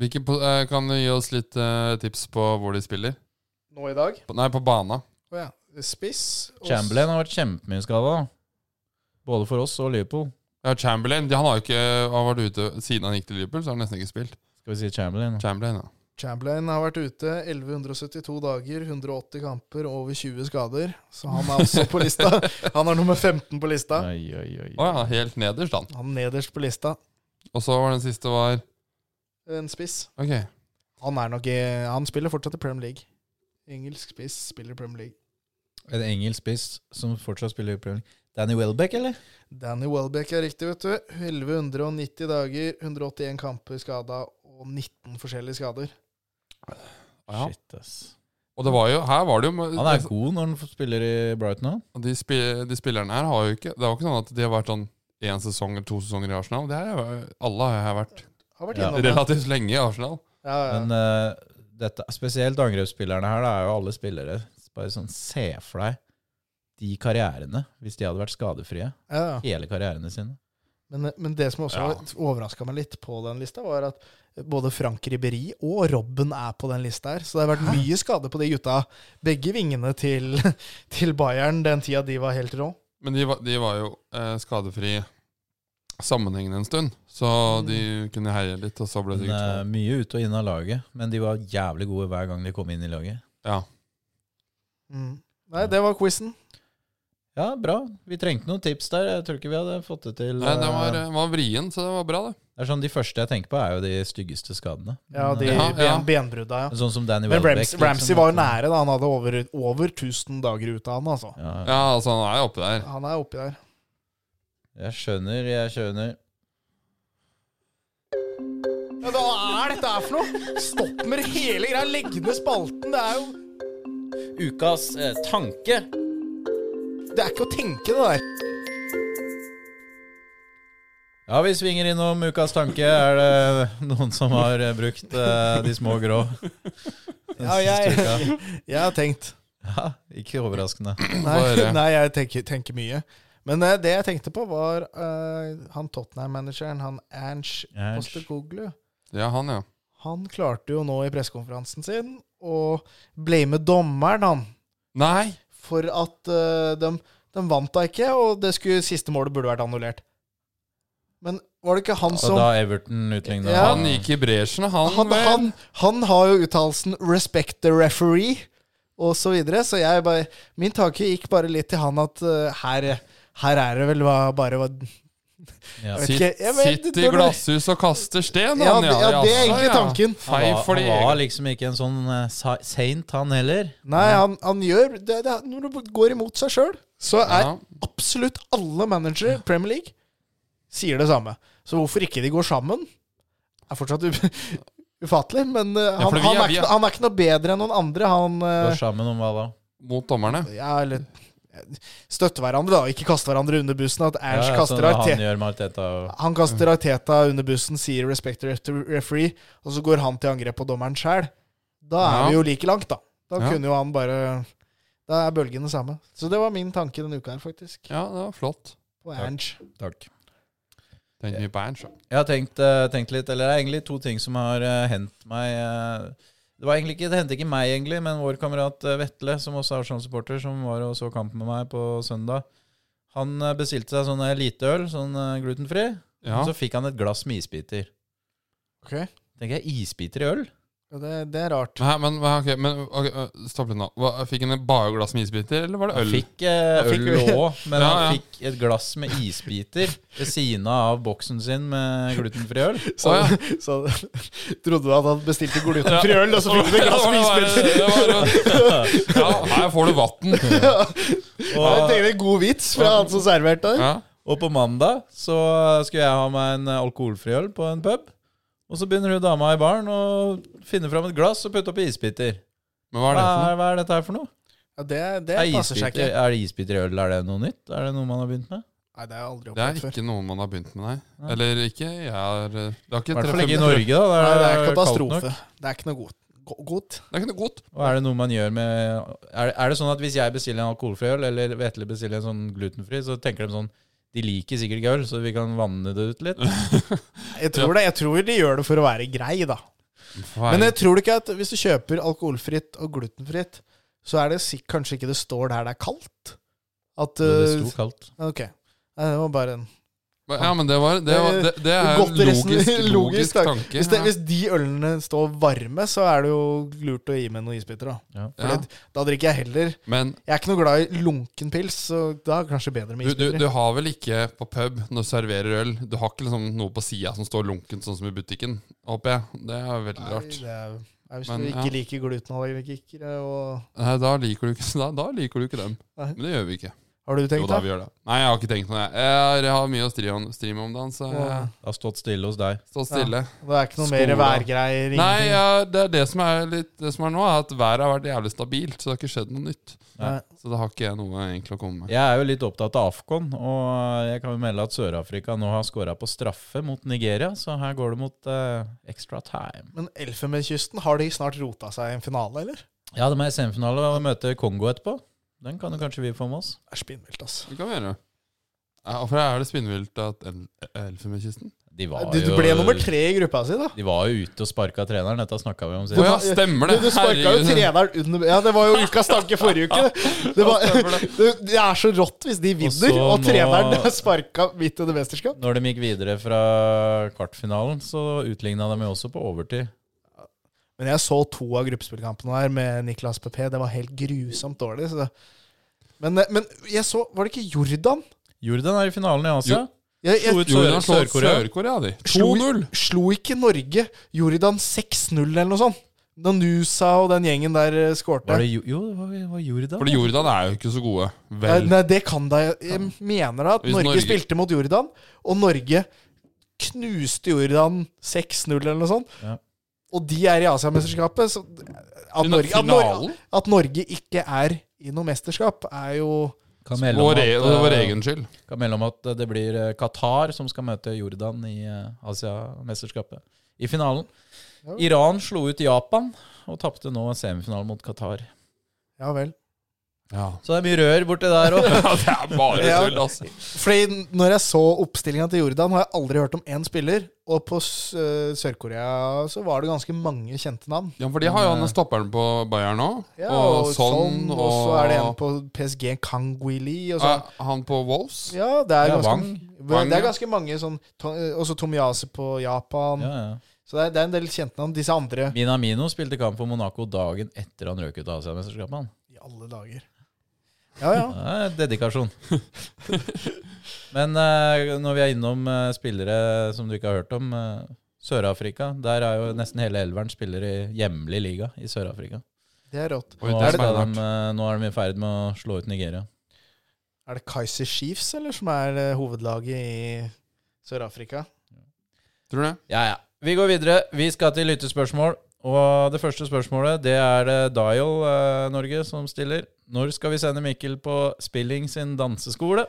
S2: Hvilke, po- eh, kan du gi oss litt eh, tips på hvor de spiller?
S3: Nå i dag
S2: På, nei, på bana.
S3: Å ja. Spiss og-
S1: Chamberlain har vært kjempemye skada. Både for oss og Liverpool.
S2: Ja, Chamberlain. de- Han har jo ikke han har vært ute siden han gikk til Liverpool, så har han nesten ikke spilt.
S1: Skal vi si Chamberlain? da?
S2: Chamberlain, ja.
S3: Chamberlain har vært ute 1172 dager, 180 kamper, over 20 skader. Så han er også på lista. Han er nummer 15 på lista.
S1: Oi, oi, oi.
S2: Å ja, helt nederst, han.
S3: Han er nederst på lista.
S2: Og så var den siste var
S3: En spiss.
S2: Ok.
S3: Han er nok i- Han spiller fortsatt i Premier League. Engelsk spiss spiller i Premier League.
S1: En engelsk spiss som fortsatt spiller i Premier League. Danny Welbeck, eller?
S3: Danny Welbeck er riktig, vet du. 1190 dager, 181 kamper skada og 19 forskjellige skader.
S2: Ja.
S1: Shit, ass.
S2: Og det var jo, her var det jo
S1: Han er god når han f- spiller i Brighton òg.
S2: Og De, spi, de spillerne her har jo ikke Det var ikke sånn at de har vært sånn én sesong eller to sesonger i Arsenal. Det her, er- alle har her vært
S3: Har vært
S1: Ja.
S3: innom det.
S2: relativt lenge i Arsenal.
S3: Ja, ja.
S1: Men eh, dette, spesielt angrepsspillerne her, det er jo alle spillere. Bare sånn, Se for deg de karrierene, hvis de hadde vært skadefrie
S3: ja, ja.
S1: hele karrierene sine.
S3: Men, eh, men det som også
S2: Ja.
S3: overraska meg litt på den lista, var at både Frank Ribberi og Robben er på den lista her. Så det har vært mye skade på de gutta. Begge vingene til, til Bayern den tida de var helt rå.
S2: Men de, var- de var jo eh, skadefri sammenhengende en stund, så
S3: Mm.
S2: de kunne heie litt, og så ble det
S1: Men,
S2: sikkert
S1: eh, mye ut og inn av laget, men de var jævlig gode hver gang de kom inn i laget.
S2: Ja.
S3: Mm. Nei, det var quizen.
S1: Ja, bra. Vi trengte noen tips der. Jeg tror ikke vi hadde fått det til.
S2: Nei, det var,
S1: eh,
S2: det var vrien, så det var bra, det.
S1: det er sånn, De første jeg tenker på, er jo de styggeste skadene.
S3: Ja, de
S1: Men, eh,
S2: Ja, ja.
S3: ben, benbrudda, ja.
S1: Sånn som Danny
S3: Men
S1: Welbeck.
S3: Rams,
S1: liksom,
S3: Ramsey var jo
S1: at-
S3: nære, da. Han hadde over, over 1000 dager ute av han, altså.
S1: Ja, ja.
S2: Ja, altså, han er jo oppe der.
S3: Han er oppi der.
S1: Jeg skjønner, jeg skjønner.
S3: Ja, hva er dette her for noe? Stopp med hele greia. Legg ned spalten. Det er jo
S1: Ukas eh, tanke.
S3: Det er ikke å tenke, det der.
S1: Ja, vi svinger innom ukas tanke. Er det noen som har eh, brukt eh, de små grå? den
S3: Ja,
S1: siste
S3: jeg-
S1: uka?
S3: Jeg har tenkt.
S1: Ja, ikke overraskende.
S3: Nei,
S2: Bare-
S3: nei jeg tenker, tenker mye. Men eh, det jeg tenkte på, var eh, han Tottenham-manageren, han Ernst
S1: Ernst.
S3: Postekoglu.
S2: Ja, han, ja.
S3: Han klarte jo nå i pressekonferansen sin å blame dommeren, han.
S2: Nei!
S3: For at eh, de, de vant da ikke, og det skulle, siste målet burde vært annullert. Men var det ikke han
S1: Og
S3: som
S1: da Everton utligna
S3: Ja.
S2: Han gikk i bresjen, han. eh,
S3: han,
S2: vel.
S3: han, han har jo uttalelsen 'respect the referee' og så videre, så jeg bare Min tanke gikk bare litt til han at eh, her, her er det vel hva- bare hva
S1: Ja.
S3: Jeg vet
S2: Sitt,
S3: ikke, jeg vet-
S2: sitt i
S3: det-
S2: glasshus og kaster sten,
S3: Ja,
S2: han.
S3: det- ja, det er
S2: jaså,
S3: egentlig
S2: ja.
S3: tanken.
S1: Han
S2: Fei
S1: var,
S2: for de
S1: han var
S2: egne.
S1: liksom ikke en sånn eh, sa- saint, han heller.
S3: Nei, han, han gjør det, det, Når du går imot seg sjøl, så er
S2: Ja.
S3: absolutt alle managere i Premier League sier det samme. Så hvorfor ikke de går sammen, er fortsatt u ufattelig. Men eh,
S2: Ja,
S3: han,
S2: for vi
S3: han,
S2: er-
S3: er,
S2: vi
S3: ikke-
S2: er-
S3: han er ikke noe bedre enn noen andre. Han eh,
S1: Går sammen om hva da?
S2: Mot dommerne.
S3: ja, eller eh, støtte hverandre, da. Ikke kaste hverandre under bussen. At
S1: Ja,
S3: Ernst
S1: ja, sånn
S3: kaster
S1: hva
S3: Arteta
S1: han gjør med Arteta. og-
S3: Han kaster Arteta under bussen, sier 'respect the ref- referee', og så går han til angrep på dommeren sjæl. Da er
S2: Ja.
S3: vi jo like langt, da. Da
S2: Ja.
S3: kunne jo han bare Da er bølgene samme. Så det var min tanke denne uka her, faktisk.
S2: Ja, det var flott.
S3: På
S1: Takk.
S3: Ernst.
S1: Takk.
S2: Den nye Berns, ja.
S1: Jeg har tenkt, eh, tenkt litt, eller det er egentlig to ting som har uh, hendt meg eh, Det var egentlig ikke, det hendte ikke meg, egentlig, men vår kamerat eh, Vetle, som også er Arsenal-supporter, som var og så kamp med meg på søndag, han eh, bestilte seg sånn eliteøl, sånn eh, glutenfri,
S2: ja.
S1: og så fikk han et glass med isbiter.
S3: Ok. Ja,
S1: Tenker jeg, isbiter i øl?
S3: Det, det er rart.
S2: Nei, men, men, ok, men ok, øh, stopp litt nå. Hva, fikk han bare glass med isbiter, eller var det
S1: Han
S2: øl?
S1: fikk eh,
S3: Han fikk
S1: øl
S3: øl.
S1: òg, men
S2: Ja, ja.
S1: han fikk et glass med isbiter ved siden av boksen sin med glutenfri øl.
S3: Så,
S2: Å,
S3: så trodde du at han bestilte glutenfri øl, og så fikk du et glass med isbiter.
S2: Ja, det var- det var- Ja, her får du vann.
S3: Jeg
S1: Og,
S3: tenker det er god vits fra han som serverte det.
S2: Ja.
S1: og på mandag så skulle jeg ha meg en alkoholfri øl på en pub. Og så begynner hun dama i baren å finne fram et glass og putte oppi isbiter.
S2: Men hva er
S1: Hva
S2: det for noe?
S1: er, hva er dette her for noe?
S3: Ja, det, det
S1: Er
S3: passer seg
S1: isbiter,
S3: ikke.
S1: er det isbiter i øl? Er det noe nytt? Er det noe man har begynt med?
S3: Nei, det har jeg aldri
S2: Det er
S3: opplevd før.
S2: ikke noe man har begynt med, nei. Eller ikke. Jeg er, eh, det har ikke
S1: I hvert fall ikke i
S2: treffet-
S1: Norge, da.
S3: Nei,
S1: der
S3: det er
S1: kaldt nok.
S3: katastrofe. Det er ikke noe godt. Go- godt.
S2: Det er ikke noe godt.
S1: Og er det noe man gjør med Er, er det sånn at hvis jeg bestiller en alkoholfri øl, eller Vetle bestiller en sånn glutenfri, så tenker de sånn De liker sikkert ikke øl, så vi kan vanne det ut litt.
S3: Jeg tror, det, jeg tror de gjør det for å være grei, da. Men jeg tror ikke at hvis du kjøper alkoholfritt og glutenfritt, så er det sikk- kanskje ikke det står der det er kaldt. At
S1: Det
S3: uh,
S1: sto kaldt.
S3: Ok. Nei, det var bare en
S2: ja, men det, var, det, var, det, det er
S3: Godt
S2: en
S3: resten-
S2: logisk,
S3: logisk
S2: logisk
S3: tanke.
S2: tanke.
S3: hvis, det,
S2: ja.
S3: hvis de ølene står varme, så er det jo lurt å gi med noen isbiter, da. For
S2: Ja.
S3: det, da drikker jeg heller
S2: Men
S3: Jeg er ikke noe glad i lunken pils, så da er det kanskje bedre med
S2: du, du,
S3: isbiter.
S2: du har vel ikke på pub når du serverer øl Du har ikke liksom noe på sida som står lunkent, sånn som i butikken, håper jeg. Det er veldig
S3: Nei,
S2: rart.
S3: det er, nei, hvis
S2: Men,
S3: du ikke
S2: ja.
S3: liker glutenallergikere og
S2: Nei, da liker du ikke, da, da liker du ikke dem.
S3: Nei.
S2: Men det gjør vi ikke.
S3: Har du
S2: Jo,
S3: tenkt,
S2: da
S3: da?
S2: vi gjør det. Nei, jeg har ikke tenkt noe, jeg. Jeg har mye å stri om, stri med om dagen, så jeg
S3: Ja.
S1: Det har stått stille hos deg.
S2: står stille.
S3: Det er ikke noe mer
S2: Skole.
S3: værgreier?
S2: Nei,
S3: ingenting?
S2: ja, det er det som er litt Det som er nå, er at været har vært jævlig stabilt, så det har ikke skjedd noe nytt.
S3: Nei.
S2: Så da har ikke jeg noe egentlig å komme med.
S1: Jeg er jo litt opptatt av Afcon, og jeg kan jo melde at Sør-Afrika nå har scora på straffe mot Nigeria, så her går det mot eh, extra time.
S3: Men Elfenbenskysten, har de snart rota seg i en finale, eller?
S1: Ja, de er i semifinale og møter Kongo etterpå. Den kan jo kanskje vi få med oss.
S3: Det er spinnvilt, altså.
S2: Det kan vi gjøre. Ja, Hvorfor er det spinnvilt at el Elfenbenskysten?
S1: De var
S3: Du, du
S1: jo,
S3: ble nummer tre i gruppa si, da.
S1: De var jo ute og sparka treneren, dette snakka vi om
S2: Å
S1: sist.
S2: ja, stemmer
S3: Du,
S2: det!
S3: du sparka jo
S2: Herregud.
S3: treneren under Ja, det var jo ukas tanke forrige uke. Det, var, det, det er så rått hvis de
S1: Og så
S3: vinner, og
S1: nå-
S3: treneren er sparka midt under mesterskap.
S1: Når de gikk videre fra kvartfinalen, så utligna de jo også på overtid.
S3: Men jeg så to av gruppespillkampene her med Niklas PP. Det var helt grusomt dårlig. Så. det- Men, men jeg så Var det ikke Jordan?
S1: Jordan er i finalen altså. i Asia.
S3: Jeg,
S1: Slo
S3: jeg,
S1: ut
S2: Jordan
S1: Sør-
S2: slår
S1: Sør-Korea.
S2: Sør-Korea, de.
S3: slo,
S2: 2-0!
S3: slo ikke Norge Jordan 6-0 eller noe sånt? Da Nusa og den gjengen der eh, skårte.
S1: Var det jo, jo, det var, var Jordan?
S2: Fordi Jordan er jo ikke så gode.
S3: Nei,
S2: Vel.
S3: nei, det kan da Jeg mener da at
S2: Hvis
S3: Norge,
S2: Norge-
S3: spilte mot Jordan, og Norge knuste Jordan 6-0 eller noe sånt.
S1: Ja.
S3: Og de er i Asiamesterskapet, så at
S2: Fina-
S3: Norge, at, Norge,
S2: finalen?
S3: at Norge ikke er i noe mesterskap, er jo
S1: Kan melde om
S2: Vår, e-
S1: at,
S2: vår
S1: eh,
S2: egen skyld.
S1: kan melde om at det blir eh, Qatar som skal møte Jordan i eh, Asiamesterskapet i finalen.
S3: Ja.
S1: Iran slo ut Japan og tapte nå semifinalen mot Qatar.
S3: Ja vel.
S2: Ja.
S1: Så det er mye rør borti der òg.
S2: det er bare
S3: Ja.
S2: tull, altså.
S3: Fordi når jeg så oppstillinga til Jordan, har jeg aldri hørt om én spiller. Og på S- eh, Sør-Korea så var det ganske mange kjente navn.
S2: Ja, for de har jo han stopperen på Bayern nå.
S3: eh, Ja,
S2: og,
S3: sånn,
S2: sånn,
S3: og så er det en på PSG, Kangwili og sånn.
S2: Eh, Han på Wolves.
S3: Ja, det er
S1: Ja,
S3: ganske,
S1: Wang.
S2: Wang,
S3: det er
S2: ja.
S3: ganske mange sånn to- Også Tomiase på Japan.
S1: Ja, ja.
S3: Så det er, det er en del kjente navn. Disse andre
S1: Minamino spilte kamp for Monaco dagen etter han røk ut av Asiamesterskapet. han.
S3: I alle dager. Ja, ja.
S1: Det er dedikasjon. Men eh, når vi er innom eh, spillere som du ikke har hørt om eh, Sør-Afrika. Der er jo nesten hele elveren spiller i hjemlig liga i Sør-Afrika.
S3: Det er rått.
S2: Oi,
S1: Nå,
S2: det
S1: skal
S2: er
S1: de, eh, nå er de i ferd med å slå ut Nigeria.
S3: Er det Kaiser Chiefs eller som er eh, hovedlaget i Sør-Afrika?
S2: Tror du det?
S1: Ja, ja. Vi går videre. Vi skal til lyttespørsmål. Og det første spørsmålet, det er det Dial eh, Norge som stiller. Når skal vi sende Mikkel på Spilling sin danseskole?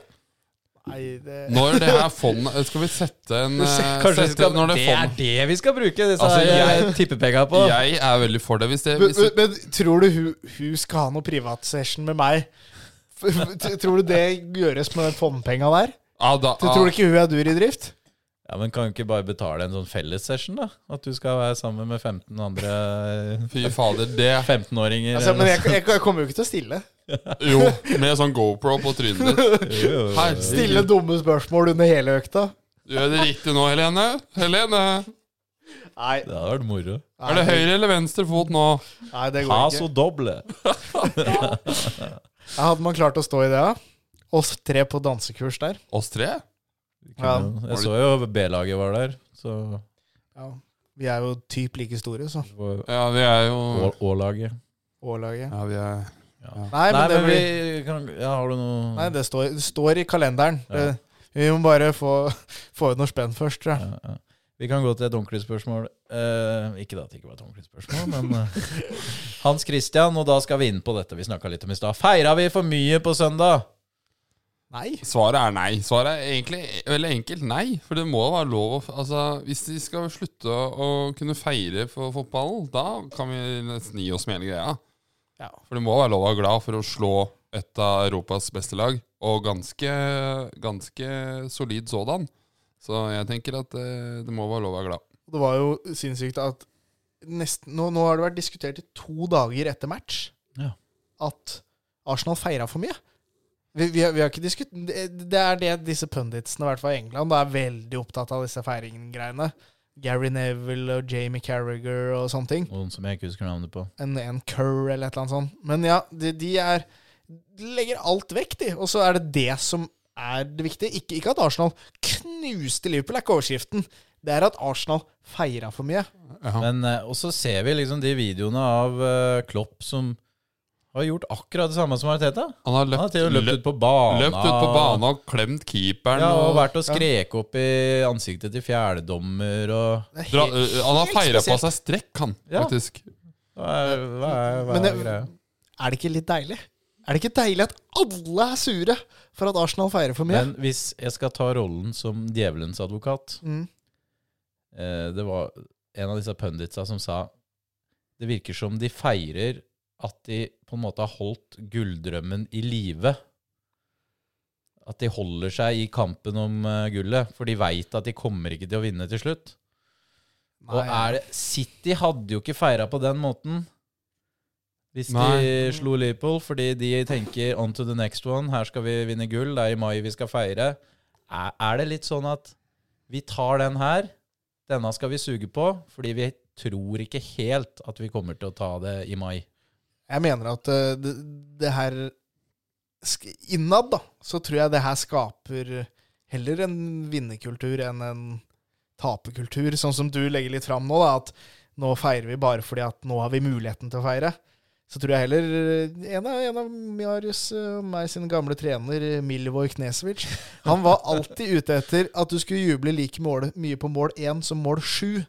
S3: Nei, det
S2: Når det her fondet Skal vi sette en eh,
S1: Kanskje vi
S2: sette,
S1: skal,
S2: når det
S1: det
S2: er
S1: er
S2: fond
S1: det vi skal bruke disse
S2: Altså,
S1: her, eh, tippepenga på?
S2: Jeg er veldig for det. Hvis det,
S3: Men,
S2: hvis
S3: men,
S2: det
S3: men tror du hun, hun skal ha noe privatsession med meg? F- f- Tror du det gjøres med fondpenga der?
S2: ah, da,
S3: Du tror du ikke hun er dur i drift?
S1: Ja, men Kan du ikke bare betale en sånn fellessession, da? At du skal være sammen med 15 andre
S2: ah, Fy fader, det
S1: 15-åringer?
S3: Altså,
S1: eller
S3: men
S1: noe
S3: jeg, jeg, jeg kommer jo ikke til å stille.
S2: Jo, med sånn GoPro på trynet ditt.
S1: sånt. Jo, jo, jo.
S2: Herregud.
S3: Stille dumme spørsmål under hele økta.
S2: Gjør det riktig nå, Helene? Helene!
S3: Nei,
S1: Det hadde vært moro.
S2: Er det høyre eller venstre fot nå?
S3: Nei, det går
S1: Paso
S3: ikke.
S1: doble.
S3: Ja, Hadde man klart å stå i det, ja? Oss tre på dansekurs der.
S2: Oss tre?
S3: Ja.
S1: Jeg så jo B-laget var der, så
S3: Ja. Vi er jo typ like store, så.
S2: Ja, vi er jo
S1: Å- Å-laget.
S3: Å-laget.
S2: Ja, vi er
S3: Nei, men
S1: Nei,
S3: det
S1: men
S3: blir
S1: vi kan, ja, Har du noe
S3: Nei, det står, det står i kalenderen.
S1: Ja.
S3: Det- Vi må bare få, få ut noe spenn først, tror jeg.
S1: Ja, ja. Vi kan gå til et ordentlig spørsmål. Eh, ikke da at det ikke var et ordentlig spørsmål, men eh, Hans Christian, og da skal vi inn på dette vi snakka litt om i stad. Feira vi for mye på søndag?
S3: Nei.
S2: Svaret er nei. Svaret er egentlig veldig enkelt nei. For det må være lov å Altså, hvis de skal slutte å kunne feire for fotballen, da kan vi nesten gi oss med hele greia.
S3: Ja.
S2: For det må være lov å være glad for å slå et av Europas beste lag, og ganske, ganske solid sådan. Så jeg tenker at eh, det må være lov å være glad.
S3: Og Det var jo sinnssykt at nesten, nå, nå har det vært diskutert i to dager etter match
S1: Ja.
S3: at Arsenal feira for mye. Vi, vi, har- vi har ikke diskut... Det det er det disse punditsene, i hvert fall i England, da er veldig opptatt av disse feiringgreiene. Gary Neville og Jamie Carragher og sånne ting.
S1: Noen som jeg ikke husker navnet på.
S3: En, en Kerr eller et eller annet sånt. Men ja, de, de er de legger alt vekk, de. Og så er det det som er det viktige. Ikke, ikke at Arsenal knuste Liverpool, er ikke overskriften. Det er at Arsenal feira for mye.
S2: Ja.
S1: Men eh, Og så ser vi liksom de videoene av eh, Klopp som har gjort akkurat det samme som Arteta. Han
S2: Han har
S1: har
S2: løpt,
S1: til og med
S2: løpt,
S1: løpt ut på banen.
S2: løpt ut på banen og klemt keeperen.
S1: Ja, og
S2: og
S1: vært og skrek opp i ansiktet til fjerdedommer og
S3: Det er
S2: dra,
S3: helt-
S2: eh, han har
S3: helt
S2: feira på
S3: spesielt.
S2: seg strekk, han,
S1: Ja.
S2: faktisk.
S1: Hva er, hva er, hva
S3: Men
S1: er
S3: det-
S1: greia?
S3: Er det ikke litt deilig? Er det ikke deilig at alle er sure for at Arsenal feirer for mye?
S1: Men hvis jeg skal ta rollen som djevelens advokat
S3: Mm.
S1: eh, Det var en av disse punditsa som sa det virker som de feirer at de på en måte har holdt gulldrømmen i live. At de holder seg i kampen om eh, gullet, for de veit at de kommer ikke til å vinne til slutt. Og er det, City hadde jo ikke feira på den måten hvis
S2: Nei.
S1: de slo Liverpool, fordi de tenker on to the next one. Her skal vi vinne gull. Det er i mai vi skal feire. Er, er det litt sånn at vi tar den her, denne skal vi suge på, fordi vi tror ikke helt at vi kommer til å ta det i mai.
S3: Jeg mener at eh, det, det her sk- Innad, da, så tror jeg det her skaper heller en vinnerkultur enn en taperkultur, sånn som du legger litt fram nå, da, at nå feirer vi bare fordi at nå har vi muligheten til å feire. Så tror jeg heller eh, En av, en av Marius eh, og meg sin gamle trener, eh, Milivoj Knesevic, han var alltid ute etter at du skulle juble like mål, mye på mål én som mål sju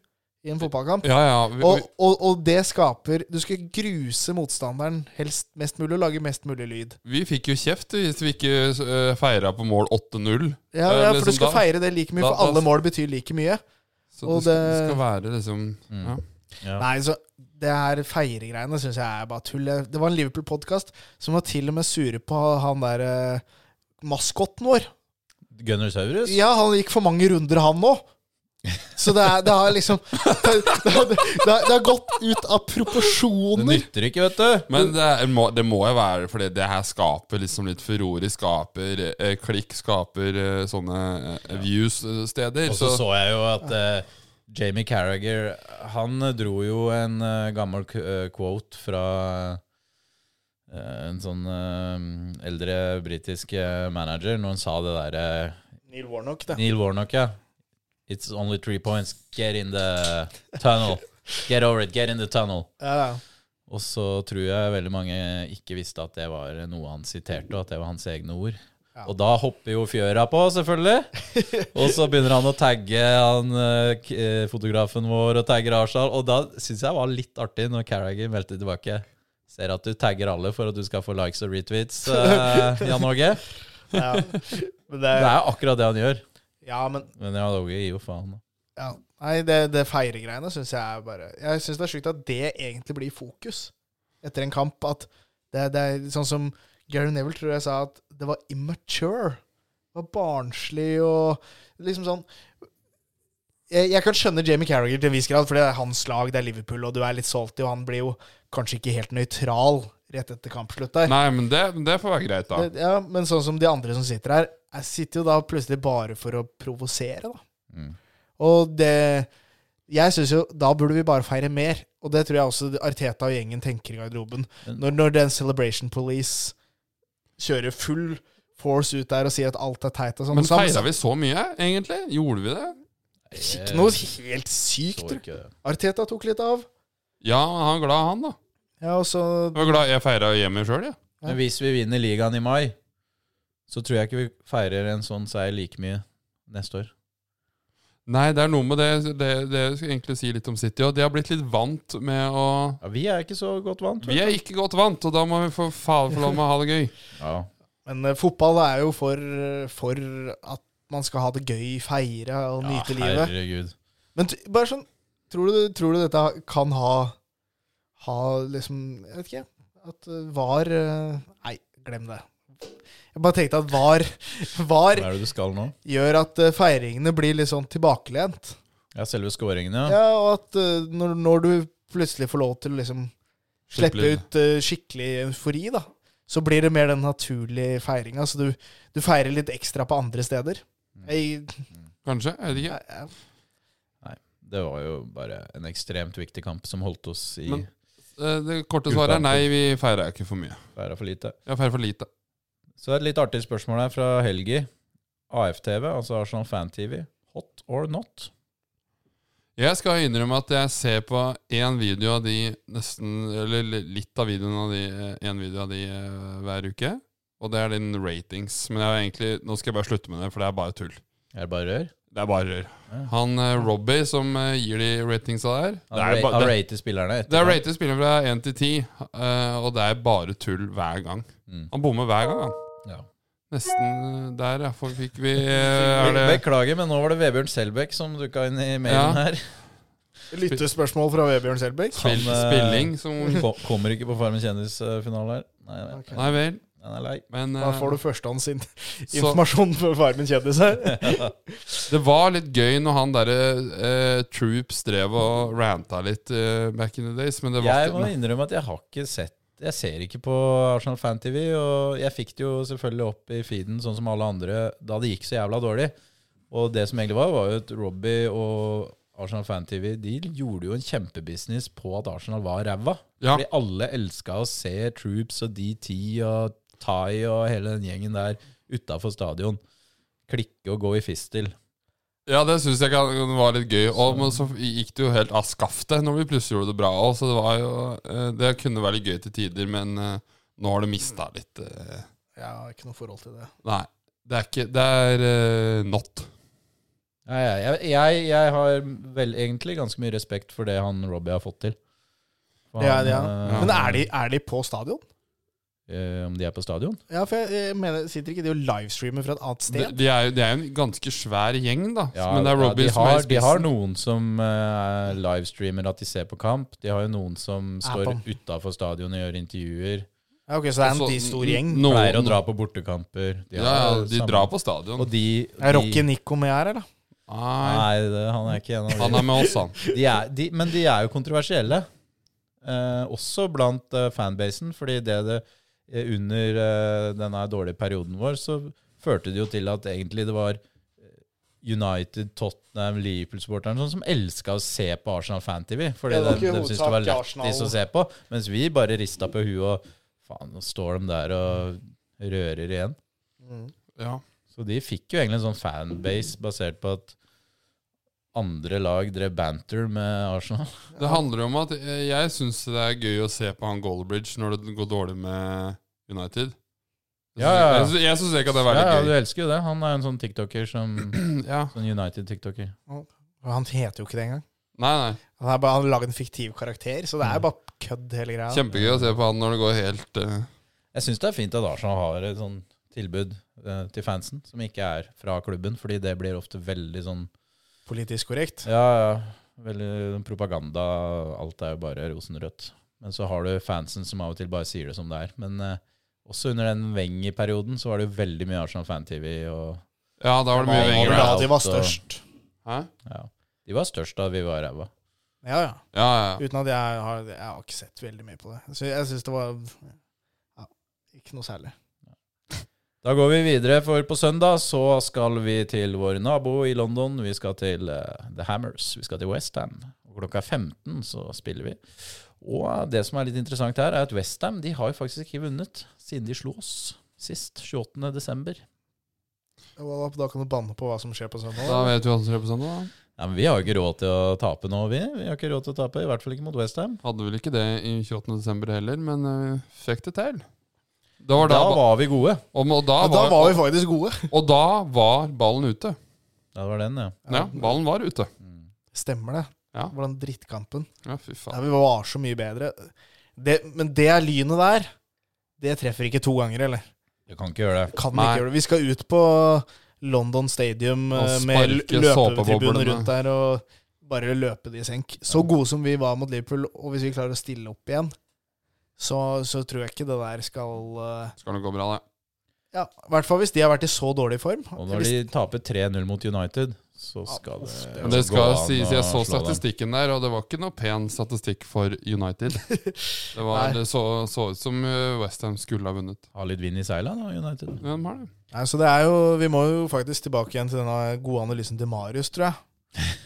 S3: i en fotballkamp.
S2: Ja, ja. Vi,
S3: Og,
S2: vi,
S3: og, og det skaper Du skal gruse motstanderen helst mest mulig og lage mest mulig lyd.
S2: vi fikk jo kjeft hvis vi ikke uh, feira på mål 8-0.
S3: Ja,
S2: Eh,
S3: ja For
S2: liksom
S3: du skal
S2: da-
S3: feire det like mye,
S2: da-
S3: for
S2: da-
S3: alle mål betyr like mye.
S2: Så
S3: Og
S2: det skal, det
S3: det-
S2: skal være liksom
S1: Mm.
S2: ja.
S1: Ja.
S3: Nei, så det her feiregreiene syns jeg er bare tull. Jeg- Det var en Liverpool-podkast som var til og med sure på han der eh, maskotten vår.
S1: Gunnersaurus?
S3: Ja, han gikk for mange runder, han nå. Så det, er, det har liksom det, har- det, har- det har gått ut av
S1: Det
S3: proporsjoner.
S1: nytter ikke, vet du.
S2: Men det, er, må, det må jo være fordi det her skaper liksom litt furore, skaper eh, klikk, skaper eh, sånne eh, views-steder.
S1: Og så så jeg jo at eh, Jamie Carragher Han eh, dro jo en eh, gammel k- eh, quote fra eh, en sånn eh, eldre britisk eh, manager når han sa det derre
S3: Neil Warnock, det.
S1: Neil Warnock, ja. It's only three points. Get in the tunnel. Get over it. Get in the tunnel.
S3: Ja, ja.
S1: Og så tror jeg veldig mange ikke visste at det var noe han siterte, og at det var hans egne ord.
S3: Ja.
S1: Og da hopper jo fjøra på, selvfølgelig. Og så begynner han å tagge han, eh, k- eh, fotografen vår og tagger Arsenal. Og da syns jeg var litt artig når Carragher meldte tilbake. Ser at du tagger alle for at du skal få likes og retweets, eh, Jan Åge.
S3: ja. Men
S1: Det
S3: det,
S1: er jo akkurat det han gjør.
S3: ja, men
S1: Men Jan Åge gir jo faen.
S3: ja. Nei, det, det feiregreiene syns jeg er bare Jeg syns det er sjukt at det egentlig blir fokus etter en kamp. At det, det er sånn som Gary Neville tror jeg sa at det var immature. Det var barnslig og liksom sånn jeg, jeg kan skjønne Jamie Carragher til en viss grad, for det er hans lag, det er Liverpool, og du er litt salty, og han blir jo kanskje ikke helt nøytral rett etter kampslutt der.
S2: Nei, men det, det får være greit, da.
S3: Det, ja, men sånn som de andre som sitter her, jeg sitter jo da plutselig bare for å provosere, da.
S1: Mm.
S3: Og det Jeg syns jo da burde vi bare feire mer. Og det tror jeg også Arteta og gjengen tenker i garderoben. Når, når den Celebration Police kjører full force ut der og sier at alt er teit og sånn.
S2: Men
S3: Sam-
S2: feira vi så mye, egentlig? Gjorde vi det?
S3: Ikke noe helt sykt.
S1: Så Eh, ikke det.
S3: Arteta tok litt av.
S2: Ja, han er glad, han, da.
S3: Ja, og så
S2: Jeg var glad jeg feira hjemme sjøl, jeg.
S1: Men hvis vi vinner ligaen i mai, så tror jeg ikke vi feirer en sånn seier like mye neste år.
S2: Nei, det er noe med det, det Det skal jeg egentlig si litt om City. Og de har blitt litt vant med å
S1: Ja, vi er ikke så godt vant.
S2: Vi er ikke godt vant, og da må vi for faen få lov med å ha det gøy.
S1: Ja.
S3: Men eh, fotball er jo for, eh, for at man skal ha det gøy, feire og nyte livet.
S1: Herregud.
S3: Men t- bare sånn Tror du, tror du dette kan ha Ha liksom Jeg vet ikke. At eh, VAR eh, Nei, glem det. Jeg bare tenkte at VAR,
S1: Hva
S3: var
S1: er det du skal nå?
S3: gjør at eh, feiringene blir litt sånn tilbakelent.
S1: Ja, selve scoringen, ja.
S3: Ja, og at eh, når, når du plutselig får lov til å liksom slippe
S2: Skikkelig.
S3: ut eh, skikkelig eufori, da, så blir det mer den naturlige feiringa. Så du, du feirer litt ekstra på andre steder. Jeg,
S2: Kanskje? Jeg vet ikke.
S3: jeg, jeg,
S1: Det var jo bare en ekstremt viktig kamp som holdt oss i
S2: Men- Eh, Det korte svaret er nei, vi feira ikke for mye.
S1: været for lite.
S2: Vi har feira for lite.
S1: Så et litt artig spørsmål her fra Helgi. AFTV, altså Arsenal Fan-TV. Hot or not?
S2: Jeg skal innrømme at jeg ser på én video av de nesten Eller li- litt av videoen av de én video av de eh, hver uke. Og det er din ratings. Men jeg har egentlig, nå skal jeg bare slutte med det, for det er bare tull.
S1: Er det bare rør?
S2: Det er bare rør.
S1: Ja.
S2: Han eh, Robbie som eh, gir de ratingsa der
S1: Han,
S2: Det er,
S1: ra
S2: ba,
S1: han
S2: det,
S1: rater spillerne
S2: det er
S1: etterpå.
S2: rated spillere fra 1 til 10, eh, og det er bare tull hver gang.
S1: Mm.
S2: Han bommer hver gang, han.
S1: Ja.
S2: Nesten eh, der, ja. For fikk vi eh, er det,
S1: Beklager, men nå var det Vebjørn Selbekk som dukka inn i
S2: Ja.
S1: mailen her.
S3: lyttespørsmål fra Vebjørn Selbekk.
S1: Han,
S2: spill,
S1: eh,
S2: spilling som
S1: Ko- Kommer ikke på Farmen kjendis-finale her. Nei, nei,
S3: Ok.
S2: Nei vel,
S1: han er lei.
S2: men
S3: Da
S2: eh,
S3: får du førstehåndsinformasjon
S2: så-
S3: informasjon for Farmen kjendis her.
S2: Det var litt gøy når han derre eh, Troops drev og ranta litt eh, back in the days, men det var
S1: Jeg må innrømme at jeg har ikke sett Jeg ser ikke på Arsenal Fan TV, og jeg fikk det jo selvfølgelig opp i feeden, sånn som alle andre, da det gikk så jævla dårlig. Og det som egentlig var, var jo at Robbie og Arsenal Fan TV De gjorde jo en kjempebusiness på at Arsenal var ræva.
S2: Ja.
S1: Fordi alle elska å se Troops og DT og Tai og hele den gjengen der utafor stadion. Klikke og gå i fistel.
S2: Ja, det syns jeg kan- var litt gøy. Og men så gikk det jo helt av skaftet når vi plutselig gjorde det bra òg, så det var jo eh, Det kunne være litt gøy til tider, men eh, nå har det mista litt eh,
S3: Jeg har ikke noe forhold til det.
S2: Nei. Det er ikke Det er eh, not.
S1: Nei, Jeg, jeg, jeg har vel egentlig ganske mye respekt for det han Robbie har fått til. For
S3: Det er
S1: han,
S3: det, ja.
S1: eh,
S3: Men er de, er de på stadion?
S1: eh, Om de er på stadion?
S3: Ja, for jeg, jeg mener, sitter ikke de og livestreamer fra et annet
S2: De,
S3: sted?
S2: de er jo de er jo en ganske svær gjeng, da.
S1: Ja,
S2: men det er
S1: ja,
S2: Robbie
S1: de,
S2: som er i
S1: har, de har
S2: spissen.
S1: noen som eh, livestreamer at de ser på kamp. De har jo noen som står
S3: på.
S1: utafor stadion og gjør intervjuer.
S3: Ja, ok, Så det er en
S2: Så
S3: de stor gjeng?
S2: noen-
S1: Pleier å dra på bortekamper.
S2: ja, ja,
S1: har
S2: de
S1: samme-
S2: drar på stadion.
S1: Og de,
S3: Er Rocky
S1: de
S3: Nico med her, eller?
S2: Nei,
S1: Nei, det, han er ikke en av de.
S2: han er med oss, han.
S1: de er, de, men de er jo kontroversielle. Eh, også blant eh, fanbasen, fordi det det eh, Under eh, denne dårlige perioden vår så førte det jo til at egentlig det var eh, United, Tottenham, Liverpool-supporterne sånn som elska å se på Arsenal Fan-TV. Fordi
S3: Ja, det var
S1: de,
S3: ikke
S1: de syntes det var
S3: hovedsak Arsenal.
S1: lættis å se på. Mens vi bare rista på huet og Faen, nå står de der og rører igjen.
S3: Mm.
S2: Ja.
S1: Så de fikk jo egentlig en sånn fanbase basert på at andre lag drev banter med Arsenal.
S2: Det handler om at eh, jeg syns det er gøy å se på han Goalbridge når det går dårlig med United. Jeg
S1: Ja, ja, ja.
S2: syns- Jeg syns det kan være
S1: ja, ja, du
S2: gøy.
S1: elsker jo det. Han er en sånn tiktoker som
S2: Ja.
S1: Sånn United-tiktoker.
S3: Han heter jo ikke det engang.
S2: Nei, nei.
S3: Han har bare han har laget en fiktiv karakter, så det
S2: Mm.
S3: er jo bare kødd hele greia.
S2: Kjempegøy å se på han når det går helt eh,
S1: Jeg syns det er fint at Arsenal har et sånn tilbud eh, til fansen som ikke er fra klubben, fordi det blir ofte veldig sånn
S3: Politisk korrekt.
S1: Ja, ja. Veldig propaganda. Alt er jo bare rosenrødt. Men så har du fansen som av og til bare sier det som det er. Men eh, også under den Wenger-perioden så var det jo veldig mye Arsenal Fan-TV. og
S2: Ja, da var det mye altså.
S1: Ja,
S3: Det var
S2: lenger.
S3: da
S2: da.
S3: de var
S1: alt, og-
S3: størst.
S2: Hæ?
S1: ja. De var størst da vi var ræva.
S3: Ja, ja.
S2: Ja, ja.
S3: Uten at jeg har Jeg har ikke sett veldig mye på det. Så jeg syns det var ja, ikke noe særlig.
S1: Da går vi videre, for på søndag så skal vi til vår nabo i London. Vi skal til eh, The Hammers. Vi skal til Westham. Klokka 15 så spiller vi. Og eh, det som er litt interessant her, er at Westham de har jo faktisk ikke vunnet siden de slo oss sist, 28. desember.
S3: Da, da kan du banne på hva som skjer på søndag.
S2: Da vet vi hva som skjer på søndag. da.
S1: Nei, men vi har jo ikke råd til å tape nå, vi. Vi har ikke råd til å tape, i hvert fall ikke mot Westham.
S2: Hadde vel ikke det i 28. desember heller, men eh, fikk det til. Det var da,
S1: Da var vi gode.
S2: og, og, da
S3: Ja, da
S2: var,
S3: var vi faktisk gode.
S2: og da var ballen ute.
S1: Ja, det var den, ja.
S2: Ja, ballen var ute.
S1: Mm.
S3: Stemmer det.
S2: Ja.
S3: Det var den drittkampen.
S2: Ja, fy faen.
S3: Ja, vi var så mye bedre. Det, men det lynet der, det treffer ikke to ganger, eller?
S1: Du kan ikke gjøre det.
S3: Kan
S2: Nei.
S3: ikke gjøre det. Vi skal ut på London Stadium
S2: Og
S3: eh, med
S2: sparke eh.
S3: løpetribunen
S2: såpeboblene.
S3: rundt der og bare løpe de i senk. Så gode som vi var mot Liverpool, og hvis vi klarer å stille opp igjen, så, så tror jeg ikke det der skal eh,
S2: Skal nok gå bra, det.
S3: Ja, i hvert fall hvis de har vært i så dårlig form.
S1: Og når de taper 3-0 mot United, så skal det,
S3: uff, det
S2: Men det skal
S1: gå an
S2: sies, jeg
S1: å slå
S2: så
S1: dem.
S2: statistikken der, og det var ikke noe pen statistikk for United. Det, var,
S3: Nei.
S2: det så, så ut som eh, West Ham skulle ha vunnet.
S1: Ha litt vind i seila nå, United.
S2: Ja, de har det.
S3: Nei, så det er jo, Vi må jo faktisk tilbake igjen til denne gode analysen til Marius, tror jeg.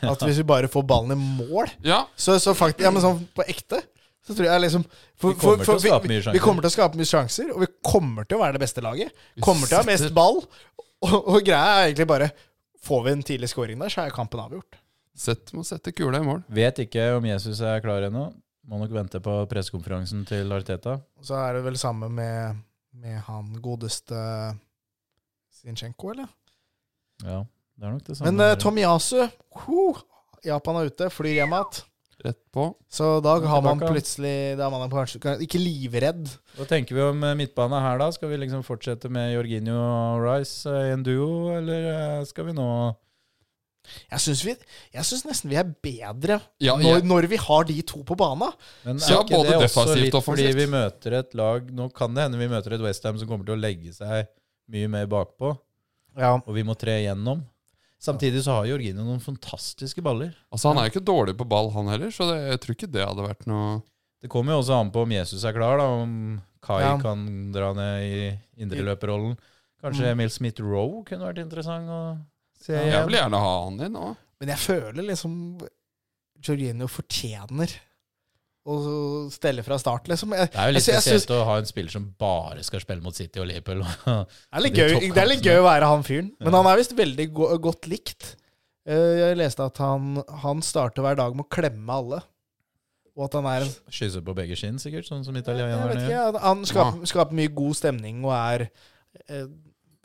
S3: At hvis vi bare får ballen i mål,
S2: Ja,
S3: så, så faktisk, ja, men sånn på ekte så tror jeg liksom
S1: Vi
S3: for-
S1: kommer
S3: for-
S1: til å
S3: for vi-
S1: skape mye
S3: vi- Vi
S1: sjanser.
S3: kommer til å skape mye sjanser, og vi kommer til å være det beste laget.
S2: Vi
S3: Kommer til å ha
S2: sitter-
S3: mest ball. Og, og greia er egentlig bare Får vi en tidlig scoring der, så er kampen avgjort.
S2: Sett, må sette kula i mål.
S1: Vet ikke om Jesus er klar ennå. Må nok vente på pressekonferansen til Arteta.
S3: Og Så er det vel samme med, med han godeste Sinchenko, eller?
S1: Ja, det er nok det samme.
S3: Men eh, Tomiyasu huh, Japan er ute, flyr hjem igjen.
S2: Rett på.
S3: Så da har man
S1: Tilbake.
S3: plutselig Da er man kanskje ikke livredd.
S1: Hva tenker vi om eh, midtbane her, da? Skal vi liksom fortsette med Jorginho og Rice eh, i en duo, eller eh, skal vi nå
S3: Jeg syns, vi, jeg syns nesten vi er bedre
S2: Ja,
S3: når,
S2: jeg,
S3: når vi har de to på bana.
S1: Men
S2: Ja, både defensivt og
S1: fordi
S2: offensivt.
S1: vi møter et lag Nå kan det hende vi møter et Westham som kommer til å legge seg mye mer bakpå,
S3: Ja.
S1: og vi må tre igjennom. Samtidig så har Jorginho noen fantastiske baller.
S2: altså, han er jo ikke dårlig på ball, han heller, så det, jeg tror ikke det hadde vært noe
S1: Det kommer jo også an på om Jesus er klar, da. Om Kai
S3: Ja.
S1: kan dra ned i indreløperrollen.
S3: Mm.
S1: Kanskje Emil Smith-Roe kunne vært interessant å se
S3: Ja.
S2: Jeg
S1: igjen.
S2: vil gjerne ha han inn òg.
S3: Men jeg føler liksom Jorginho fortjener å stelle fra start, liksom. Jeg,
S1: Det er jo litt
S3: jeg sy- jeg
S1: spesielt å ha en spiller som bare skal spille mot City og Liverpool.
S3: syns- det, er litt
S1: de
S3: gøy, det er litt
S1: toppkampene.
S3: gøy å være han fyren. Men han er visst veldig go godt likt. Eh, Jeg leste at han, han starter hver dag med å klemme alle. Og at han er en
S1: Skysse på begge skinn, sikkert, sånn som
S3: Jeg vet
S1: italienerne
S3: ikke,
S1: gjør.
S3: ja. han skaper, skaper mye god stemning og er eh,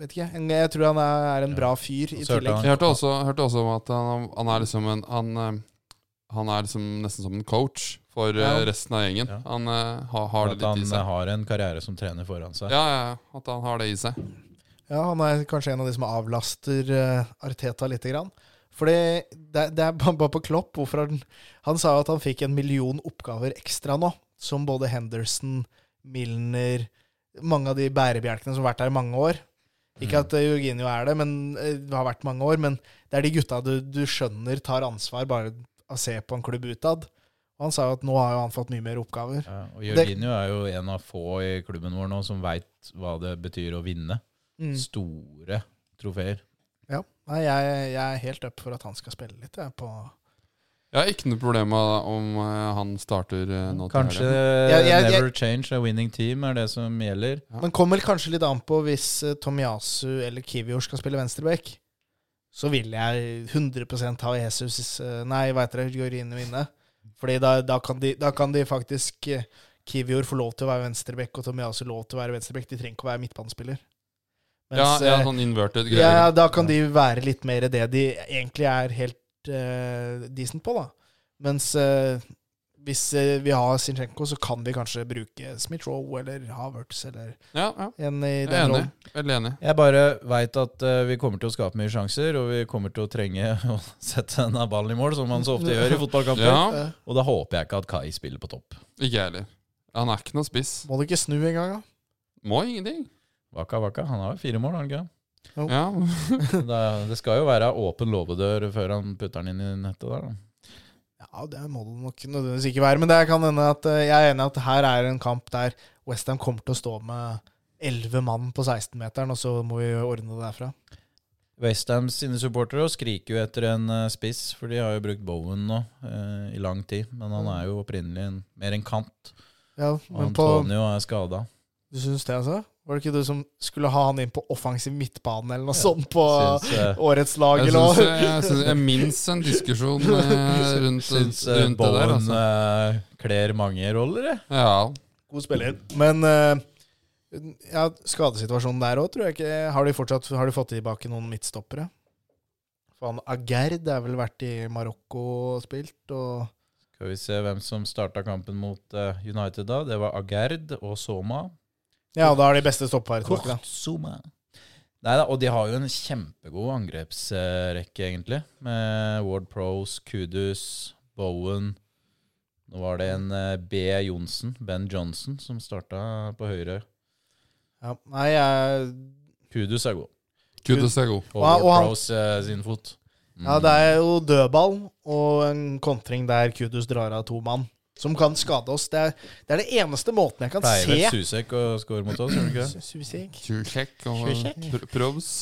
S3: vet ikke, en- jeg tror han er, er en
S1: Ja.
S3: bra fyr i
S1: Og så hørte
S3: tillegg.
S2: Jeg hørte også, hørte også om at han, han er liksom en han, eh, han er liksom nesten som en coach for eh,
S1: Ja.
S2: resten av gjengen.
S1: Ja.
S2: Han eh, har, har
S1: At
S2: det
S1: han
S2: litt
S1: eh,
S2: i seg.
S1: har en karriere som trener foran seg.
S2: Ja, ja, ja, at han har det i seg.
S3: Ja, han er kanskje en av de som avlaster eh, Arteta lite grann. Fordi det, det er bare bare på Klopp hvorfor han Han sa jo at han fikk en million oppgaver ekstra nå, som både Henderson, Milner Mange av de bærebjelkene som har vært der i mange år. Ikke at eh, Jorginho er det, men eh, det har vært mange år. Men det er de gutta du, du skjønner tar ansvar bare av å se på en klubb utad. Og han sa jo at nå har jo han fått mye mer oppgaver.
S1: Ja, og Jorginho er jo en av få i klubben vår nå som veit hva det betyr å vinne.
S3: Mm.
S1: Store trofeer.
S3: Ja. Nei, jeg, jeg er helt up for at han skal spille litt, jeg, på
S2: Jeg har ikke noe problem med om eh, han starter eh, nå til
S1: Kanskje
S2: helgen.
S3: Jeg- jeg- jeg-
S1: never change a winning team er det som gjelder.
S2: Ja.
S3: Men kommer kanskje litt an på hvis eh, Tomiyasu eller Kivior skal spille venstreback. Så vil jeg 100 ha Jesus eh, Nei, hva heter det? Jorginho inne. Fordi da, da, kan de, da kan de faktisk eh, Kivior få lov til å være venstreback, og Tomiyasu lov til å være venstreback. De trenger ikke å være midtbanespiller.
S2: Ja,
S3: Mens,
S2: ja,
S3: eh,
S2: sånn inverted
S3: ja,
S2: greier.
S3: da kan de være litt mer det de egentlig er helt eh, decent på, da. Mens eh, hvis eh, vi har Sinchenko, så kan vi kanskje bruke Smith-Roe eller Havertz eller
S2: Ja, ja.
S3: en i
S2: Jeg er
S3: den
S2: enig.
S3: rollen.
S2: Veldig enig.
S1: Jeg bare veit at eh, vi kommer til å skape mye sjanser, og vi kommer til å trenge å sette denne ballen i mål, som man så ofte gjør i fotballkamper.
S2: Ja,
S3: Eh,
S1: Og da håper jeg ikke at Kai spiller på topp.
S2: ikke jeg heller. Han er ikke noe spiss.
S3: Må du ikke snu engang, da?
S2: Må ingenting.
S1: Vaka, vaka. Han har jo fire mål, har han ikke?
S2: Ja.
S1: Det, det skal jo være åpen låvedør før han putter den inn i nettet der, da.
S3: Ja, det må det nok nødvendigvis ikke være. Men det kan hende at eh, jeg er enig at her er en kamp der Westham kommer til å stå med elleve mann på 16-meteren, og så må vi ordne det derfra.
S1: Westham sine supportere skriker jo etter en eh, spiss, for de har jo brukt Bowen nå eh, i lang tid. Men han er jo opprinnelig en, mer en kant.
S3: Ja,
S1: Og
S3: men på,
S1: Antonio er skada.
S3: Du syns det, altså? Var det ikke du som skulle ha han inn på offensiv midtbane eller noe sånt på
S1: Syns, eh,
S3: årets lag?
S2: Jeg
S3: Eller
S2: syns,
S3: noe?
S2: jeg, jeg, syns- jeg minst en diskusjon eh, rundt,
S1: syns eh,
S2: rundt det der.
S1: Bowen
S2: Altså.
S1: eh, kler mange roller,
S3: eh.
S1: jeg.
S2: Ja.
S3: God spiller. Men eh, ja, skadesituasjonen der òg, tror jeg ikke Har de fortsatt har de fått tilbake noen midtstoppere? Faen, Agerd er vel vært i Marokko og spilt, og
S1: Skal vi se hvem som starta kampen mot eh, United da. Det var Agerd og Soma.
S3: Ja, og da er de beste stopparet tilbake. da.
S1: Soma. Neida, og de har jo en kjempegod angrepsrekke, egentlig. Med Ward Pros, Kudus, Bowen Nå var det en eh, B. Johnsen, Ben Johnson, som starta på høyre.
S3: Ja, nei, jeg,
S1: Kudus er god.
S2: Kudus er god.
S1: Og
S3: Ja, og
S1: Ward
S3: han-
S1: Pros eh, sin fot. Mm.
S3: ja, det er jo dødball og en kontring der Kudus drar av to mann, som kan skade oss. Det er, det er det eneste måten jeg kan
S1: Mm. Pleier vel
S3: se
S1: Susek å score mot oss, gjør han ikke det?
S3: Susik.
S2: Kjekk og
S3: Kjekk.
S2: pr- Provs.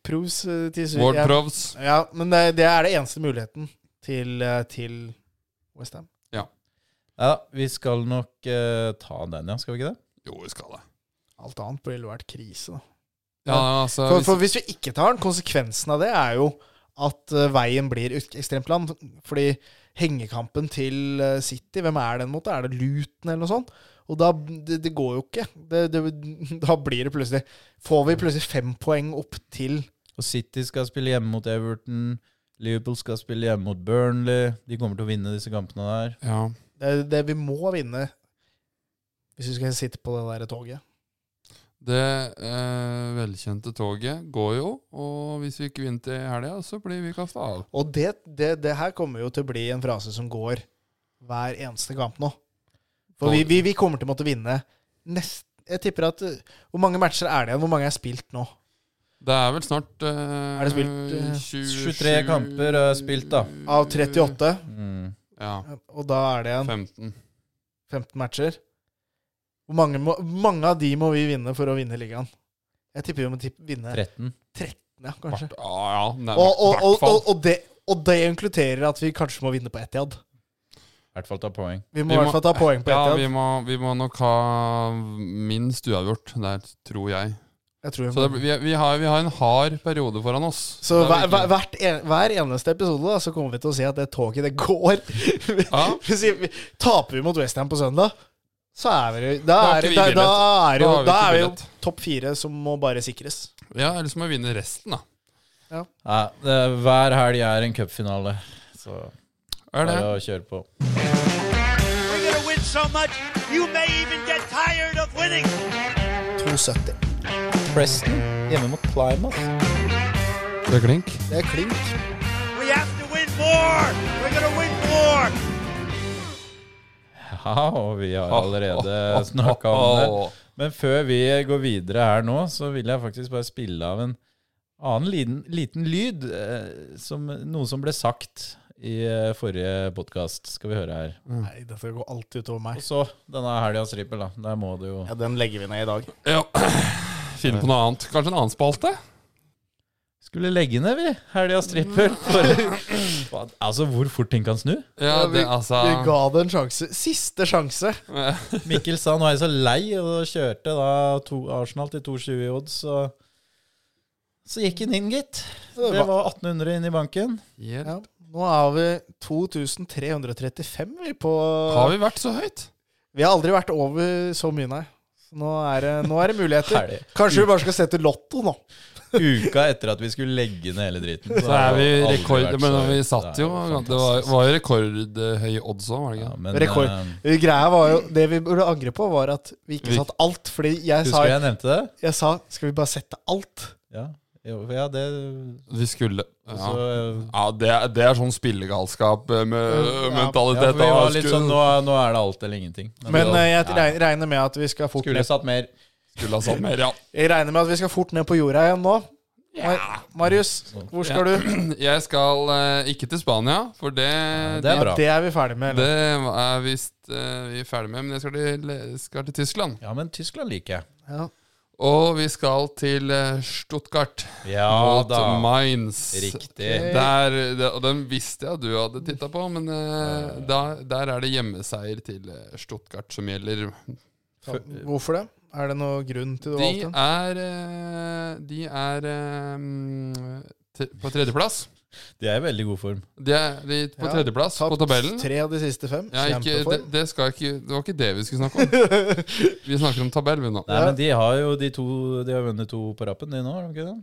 S3: Pros eh, til Su-
S2: Ward
S3: ja.
S2: Provs.
S3: Ja, men det, det er det eneste muligheten til, eh, til Westham.
S1: Ja, vi skal nok eh, ta den, ja. Skal vi ikke det?
S2: Jo, vi skal det.
S3: Alt annet ville vært krise. Da.
S2: Ja, altså,
S3: For,
S2: hvis-
S3: for hvis vi ikke tar den, konsekvensen av det er jo at eh, veien blir ut- ekstremt lang. Fordi hengekampen til eh, City, hvem er den mot? Er det Luton eller noe sånt? Og da det, det går jo ikke. Det, det, da blir det plutselig Får vi plutselig fem poeng opp til
S1: Og City skal spille hjemme mot Everton. Liverpool skal spille hjemme mot Burnley. De kommer til å vinne disse kampene der.
S2: ja.
S3: det, det vi må vinne hvis vi skal sitte på det der toget.
S2: Det eh, velkjente toget går jo, og hvis vi ikke vinner til helga, så blir vi kasta av.
S3: Og det, det, det her kommer jo til å bli en frase som går hver eneste kamp nå. For vi, vi, vi kommer til å måtte vinne nest, Jeg tipper at uh, Hvor mange matcher er det igjen? Hvor mange er spilt nå?
S2: Det er vel snart eh,
S3: Er det spilt, eh,
S2: 27
S1: 23 kamper er spilt, da.
S3: Av 38?
S1: Mm.
S2: Ja.
S3: Og da er det igjen
S2: 15.
S3: 15 matcher. Hvor mange, må, mange av de må vi vinne for å vinne ligaen? Jeg tipper vi må tipp, vinne
S1: 13.
S3: ja, kanskje.
S2: Hvert- Ah, ja, nei,
S3: Og, og,
S2: hvert
S3: og,
S2: fall.
S3: og, og, det, og det inkluderer at vi kanskje må vinne på Etiad.
S1: I hvert fall ta poeng.
S3: Vi
S2: Vi
S3: må i
S2: må-
S3: hvert fall ta poeng på
S2: Ja,
S3: Etiad.
S2: vi må, vi må nok ha minst uavgjort der, tror jeg.
S3: Jeg tror vi
S2: Så det,
S3: må-
S2: blir- vi, vi, har, vi har en hard periode foran oss.
S3: Så
S2: Det er
S3: hver,
S2: virkelig-
S3: hver, hvert en, hver eneste episode da, så kommer vi til å se at det toget det går.
S2: Ja.
S3: Vi sier, vi- Taper vi mot Westham på søndag, så er vi jo Da
S2: Da har
S3: er,
S2: ikke vi
S3: da, da
S2: billett.
S3: er, jo,
S2: Da har vi
S3: da
S2: ikke
S3: er vi jo
S2: billett.
S3: topp fire som må bare sikres.
S2: Ja, ellers må vi vinne resten, da.
S1: Nei, det, hver helg er en cupfinale, så
S2: Er det?
S1: bare å kjøre på.
S5: We're going to win so much, you may even get tired of winning.
S3: 270.
S1: Preston hjemme mot Plymouth.
S2: Det er klink.
S3: Det er klink.
S5: We have to win more. We're going to win more.
S1: Ja, og vi har allerede snakka om det. Men før vi går videre her nå, så vil jeg faktisk bare spille av en annen liten, liten lyd. Eh, som, noe som ble sagt i eh, forrige podkast. Skal vi høre her.
S3: Nei, dette går alltid utover meg.
S1: Og så denne helgas trippel, da. Der må du jo
S3: Ja, Den legger vi ned i dag.
S2: Ja. Finne på noe annet. Kanskje en annen spalte?
S1: Skulle legge ned, vi. Helgas trippel. For, altså, hvor fort ting kan snu.
S2: Ja, det, altså
S3: Vi ga det en sjanse. Siste sjanse.
S1: Mikkel sa nå er jeg så lei, og kjørte da to, Arsenal til 2,20 i odds, og så gikk han inn, gitt.
S3: Det
S1: Det var 1800 inn i banken.
S2: Hjelp.
S3: Ja, nå har vi 2335 vi på
S2: Har vi vært så høyt?
S3: Vi har aldri vært over så mye, nei. Så nå er det, nå er det muligheter.
S1: Herlig.
S3: Kanskje vi bare skal sette lotto nå.
S1: Uka etter at vi skulle legge ned hele driten.
S2: Så er vi
S1: har det aldri
S2: rekord...
S1: vært
S2: Men
S1: så-
S2: vi satt
S1: Det
S2: jo
S1: er
S2: Det var,
S1: fantastisk.
S2: var jo rekordhøye odds òg, var det
S1: ja,
S2: ikke?
S1: men,
S3: Rekord.
S1: eh,
S3: Greia var jo, Det vi burde angre på, var at vi ikke
S2: Vi-
S3: satte alt. Fordi jeg sa,
S1: Husker du jeg nevnte det?
S3: jeg sa Skal vi bare sette alt?
S1: Ja, jo, ja det
S2: Vi skulle
S1: så,
S2: Ja,
S1: eh,
S2: ja det, er, det er sånn spillegalskap eh, med
S3: Ja.
S1: ja, for
S2: mentalitet.
S1: vi
S2: da.
S1: var litt
S2: Skulle-
S1: sånn nå, nå er det alt eller ingenting. Men
S3: Men
S1: det-
S3: eh, jeg regner- regner med at vi skal fort
S1: skulle
S3: ned,
S1: satt mer.
S2: Skulle ha sagt mer, ja.
S3: jeg regner med at vi skal fort ned på jorda igjen nå. Mar Marius, hvor skal
S2: Ja.
S3: du?
S2: Jeg skal eh, ikke til Spania, for det
S1: det er
S2: dit-
S1: bra.
S3: Det er vi ferdig med. eller?
S2: Det er visst eh, vi er ferdig med, men jeg skal til, skal til Tyskland.
S1: Ja, men Tyskland liker jeg.
S3: Ja.
S2: Og vi skal til eh, Stuttgart
S1: Ja
S2: mot
S1: da.
S2: Mainz.
S1: Riktig.
S2: Der, det, og den visste jeg du hadde titta på, men eh, da, der er det hjemmeseier til eh, Stuttgart som gjelder.
S3: Hvorfor det? Er det noe grunn til det?
S2: De
S3: valgte?
S2: er, eh, de er eh, mm, te- på tredjeplass.
S1: De er i veldig god form.
S2: De er de, på
S3: Ja,
S2: tredjeplass på
S3: Tapt
S2: tabellen.
S3: Tre av de siste fem.
S2: Ja, ikke, det,
S3: Kjempeform.
S2: det, skal ikke, det var ikke det vi skulle snakke om. Vi snakker om tabell, vi nå.
S1: Nei, men de har jo de to De har vunnet to på rappen, de nå, har de ikke det?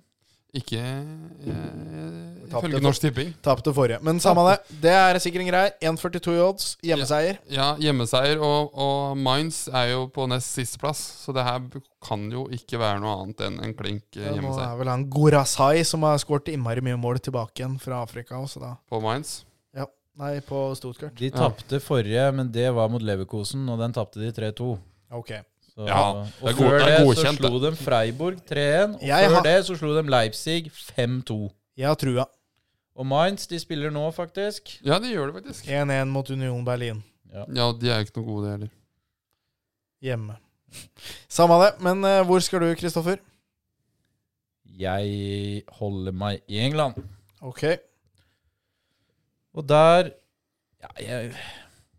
S2: Ikke eh,
S3: Tapte
S2: ifølge
S3: for-
S2: Norsk Tipping.
S3: Tapte forrige. Men samme det. Det er sikkert en greie. 1,42 i odds. Hjemmeseier.
S2: Ja, hjemmeseier og, og Mainz er jo på nest siste plass, så det her kan jo ikke være noe annet enn en klink eh,
S3: Ja, nå
S2: hjemmeseier
S3: er vel han Gorazai som har skåret innmari mye mål tilbake igjen fra Afrika. Også, da.
S2: på Mainz.
S3: Ja. Nei, på Stuttgart.
S1: De tapte forrige, men det var mot Leverkosen, og den tapte de 3-2.
S3: Ok.
S1: Så-
S2: Ja,
S1: og
S2: det er
S1: før
S2: god- det er
S1: det
S2: godkjent,
S1: så slo de Freiburg 3-1, og
S3: Jeg
S1: før
S3: har-
S1: det så slo de Leipzig 5-2.
S3: Jeg har trua.
S1: Og Mainz de spiller nå, faktisk.
S2: Ja, de gjør det faktisk.
S3: 1-1 mot Union Berlin.
S2: Ja, de er jo ikke noe gode, de heller.
S3: Hjemme. Samme det. Men eh, hvor skal du, Kristoffer?
S1: Jeg holder meg i England.
S3: Ok.
S1: Og der ja, Jeg,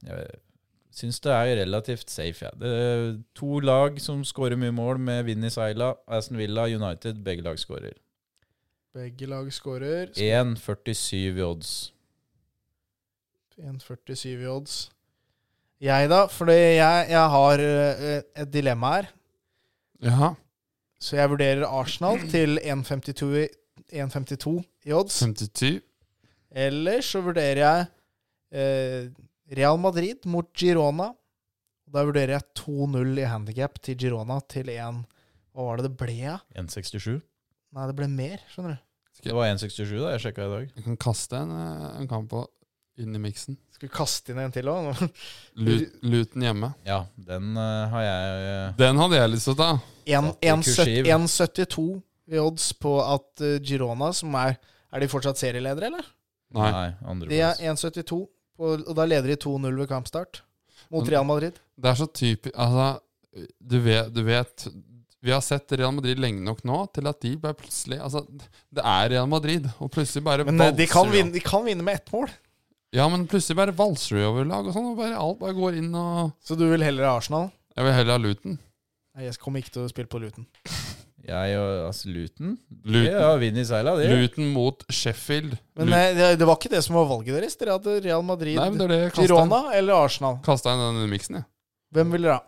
S1: jeg syns det er relativt safe. Ja. Det er to lag som skårer mye mål, med vinn i seila. Aston Villa, United, begge lag skårer.
S3: Begge lag skårer.
S1: 1,47 i odds.
S3: 1,47 i odds. Jeg, da? Fordi jeg, jeg har eh, et dilemma her.
S2: Jaha.
S3: Så jeg vurderer Arsenal til 1,52 i- 1,52 i odds.
S2: 57.
S3: Eller så vurderer jeg eh, Real Madrid mot Girona. Da vurderer jeg 2-0 i handikap til Girona til 1 Hva var det det ble? ja?
S1: 1,67.
S3: Nei, det ble mer, skjønner du.
S1: Det var 1,67 da jeg sjekka i dag.
S2: Jeg kan kaste en, eh, en kamp på inn i miksen.
S3: Skal vi kaste inn en til òg?
S2: Lu- Luton hjemme.
S1: Ja, den eh, har jeg eh,
S2: Den hadde jeg lyst til å ta.
S3: 1,72 i odds på at eh, Girona, som er Er de fortsatt serieledere, eller?
S2: Nei.
S1: Nei,
S3: De er
S1: andreplass.
S3: 1,72, og, og da leder de 2-0 ved kampstart mot
S2: Men-
S3: Real Madrid.
S2: Det er så typisk Altså, du vet, du vet Vi har sett Real Madrid lenge nok nå til at de bare plutselig Altså, det er Real Madrid, og plutselig bare
S3: Men eh, de kan
S2: valser
S3: vinne, de kan vinne med ett mål.
S2: Ja, men plutselig bare valser du over lag og sånn, og bare alt bare går inn og
S3: Så du vil heller ha Arsenal?
S2: Jeg vil heller ha Luton.
S3: Nei, jeg kommer ikke til å spille på Luton.
S1: Jeg og altså, Luton.
S2: Luton.
S1: Ja, vinn i seila, de.
S2: Luton mot Sheffield.
S3: Men
S2: Luton.
S3: eh, det, det var ikke det som var valget deres. Dere hadde Real Madrid,
S2: Nei, men det er det jeg kastet
S3: Girona eller Arsenal.
S2: Kasta inn den miksen, jeg.
S3: Hvem ville dere ha?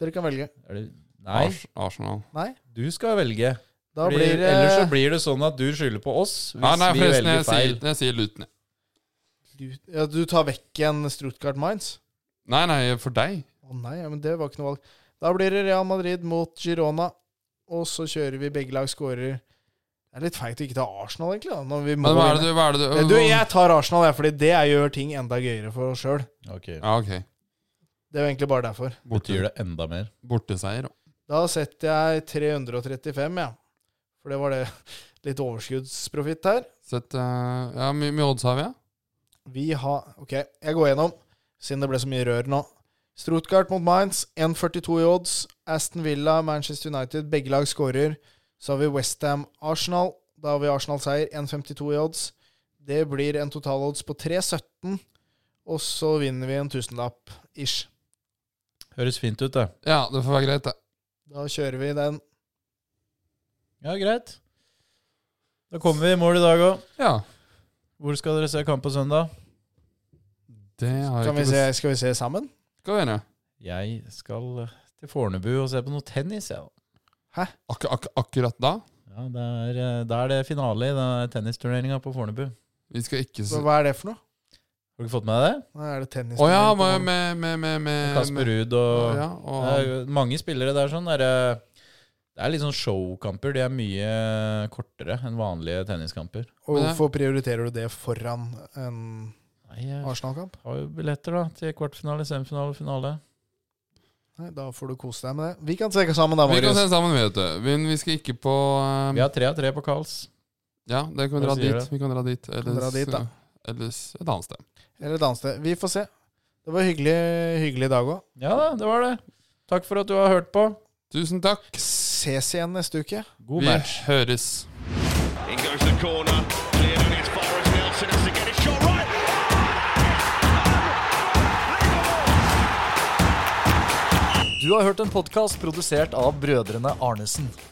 S3: Dere kan velge.
S1: Er det, nei,
S2: Ars Arsenal.
S3: Nei?
S1: du skal velge.
S3: Da
S1: Blir,
S3: blir eh, det
S1: ellers så blir det sånn at du skylder på oss hvis
S2: Nei, nei,
S1: vi
S2: forresten,
S1: velger
S2: jeg
S1: feil.
S2: sier, jeg sier Luton. jeg.
S3: du- ja, Du tar vekk en Stuttgart Mines?
S2: Nei, nei, for deg.
S3: Å nei, ja, men det var ikke noe valg. Da blir det Real Madrid mot Girona. Og så kjører vi begge lag skårer. Det er litt feigt å ikke ta Arsenal, egentlig. da, når vi må
S2: Men hva er det
S3: vinne.
S2: du hva er det
S3: Men du, jeg tar Arsenal, jeg, fordi det gjør ting enda gøyere for oss sjøl.
S1: Ok.
S2: Ja, ok.
S3: Det er jo egentlig bare derfor.
S1: Betyr det enda mer?
S2: Borteseier.
S3: Da setter jeg 335, jeg. Ja. For det var det litt overskuddsprofitt her.
S2: Sett eh, Ja, mye mye odds har vi, ja?
S3: Vi har Ok, jeg går gjennom, siden det ble så mye rør nå. Strutgart mot Mainz, 1,42 i odds. Aston Villa, Manchester United, begge lag skårer. Så har vi Westham, Arsenal. Da har vi Arsenal-seier, 1,52 i odds. Det blir en totalodds på 3,17, og så vinner vi en tusenlapp ish.
S1: Høres fint ut, det.
S2: Ja, det får være greit, det.
S3: Da kjører vi den.
S1: Ja, greit. Da kommer vi i mål i dag òg.
S2: Ja.
S1: Hvor skal dere se kamp på søndag?
S2: Det har jeg
S3: Kan vi
S2: ikke
S3: se,
S2: bestemt.
S3: skal vi se sammen?
S2: Skal vi gjøre.
S1: Jeg skal eh, til Fornebu og se på noe tennis, jeg. da.
S2: Ak ak akkurat da?
S1: Ja, det er, eh, da er det finale i den tennisturneringa på Fornebu. Har
S2: Vi skal ikke
S3: Så
S2: se Å
S3: hva er det for noe?
S1: du ikke fått med deg det?
S3: Nei, er det tennis?
S2: ja, med, med, med, med, med
S1: Kasper Ruud og
S2: Eh, Ja, og
S1: Det er jo mange spillere der sånn der, eh, Det er litt sånn showkamper. De er mye kortere enn vanlige tenniskamper.
S3: Og hvorfor prioriterer du det foran en
S1: Nei, jeg
S3: Arsenal-kamp?
S1: har jo billetter da til kvartfinale, semifinale, finale.
S3: Nei, Da får du kose deg med det. Vi kan se sammen, da,
S2: Vi kan
S3: Marius.
S2: se sammen, vet du. Men vi skal ikke på eh,
S1: Vi har tre av tre på Karls.
S2: Ja, det kan
S1: Hva
S2: vi dra
S1: sier
S2: dit.
S1: det?
S2: Vi kan dra dit. Ellers,
S3: dra dit, da.
S2: eh, ellers et annet sted.
S3: Eller et annet sted. Vi får se. Det var hyggelig, hyggelig i dag òg.
S1: Ja da, det var det. Takk for at du har hørt på.
S2: Tusen takk.
S3: Ses igjen neste uke.
S1: God
S2: Vi
S1: match.
S2: høres.
S4: In goes the corner, cleared and it's Forrest Nelson has to get it shot right.
S6: Du har hørt en podkast produsert av brødrene Arnesen.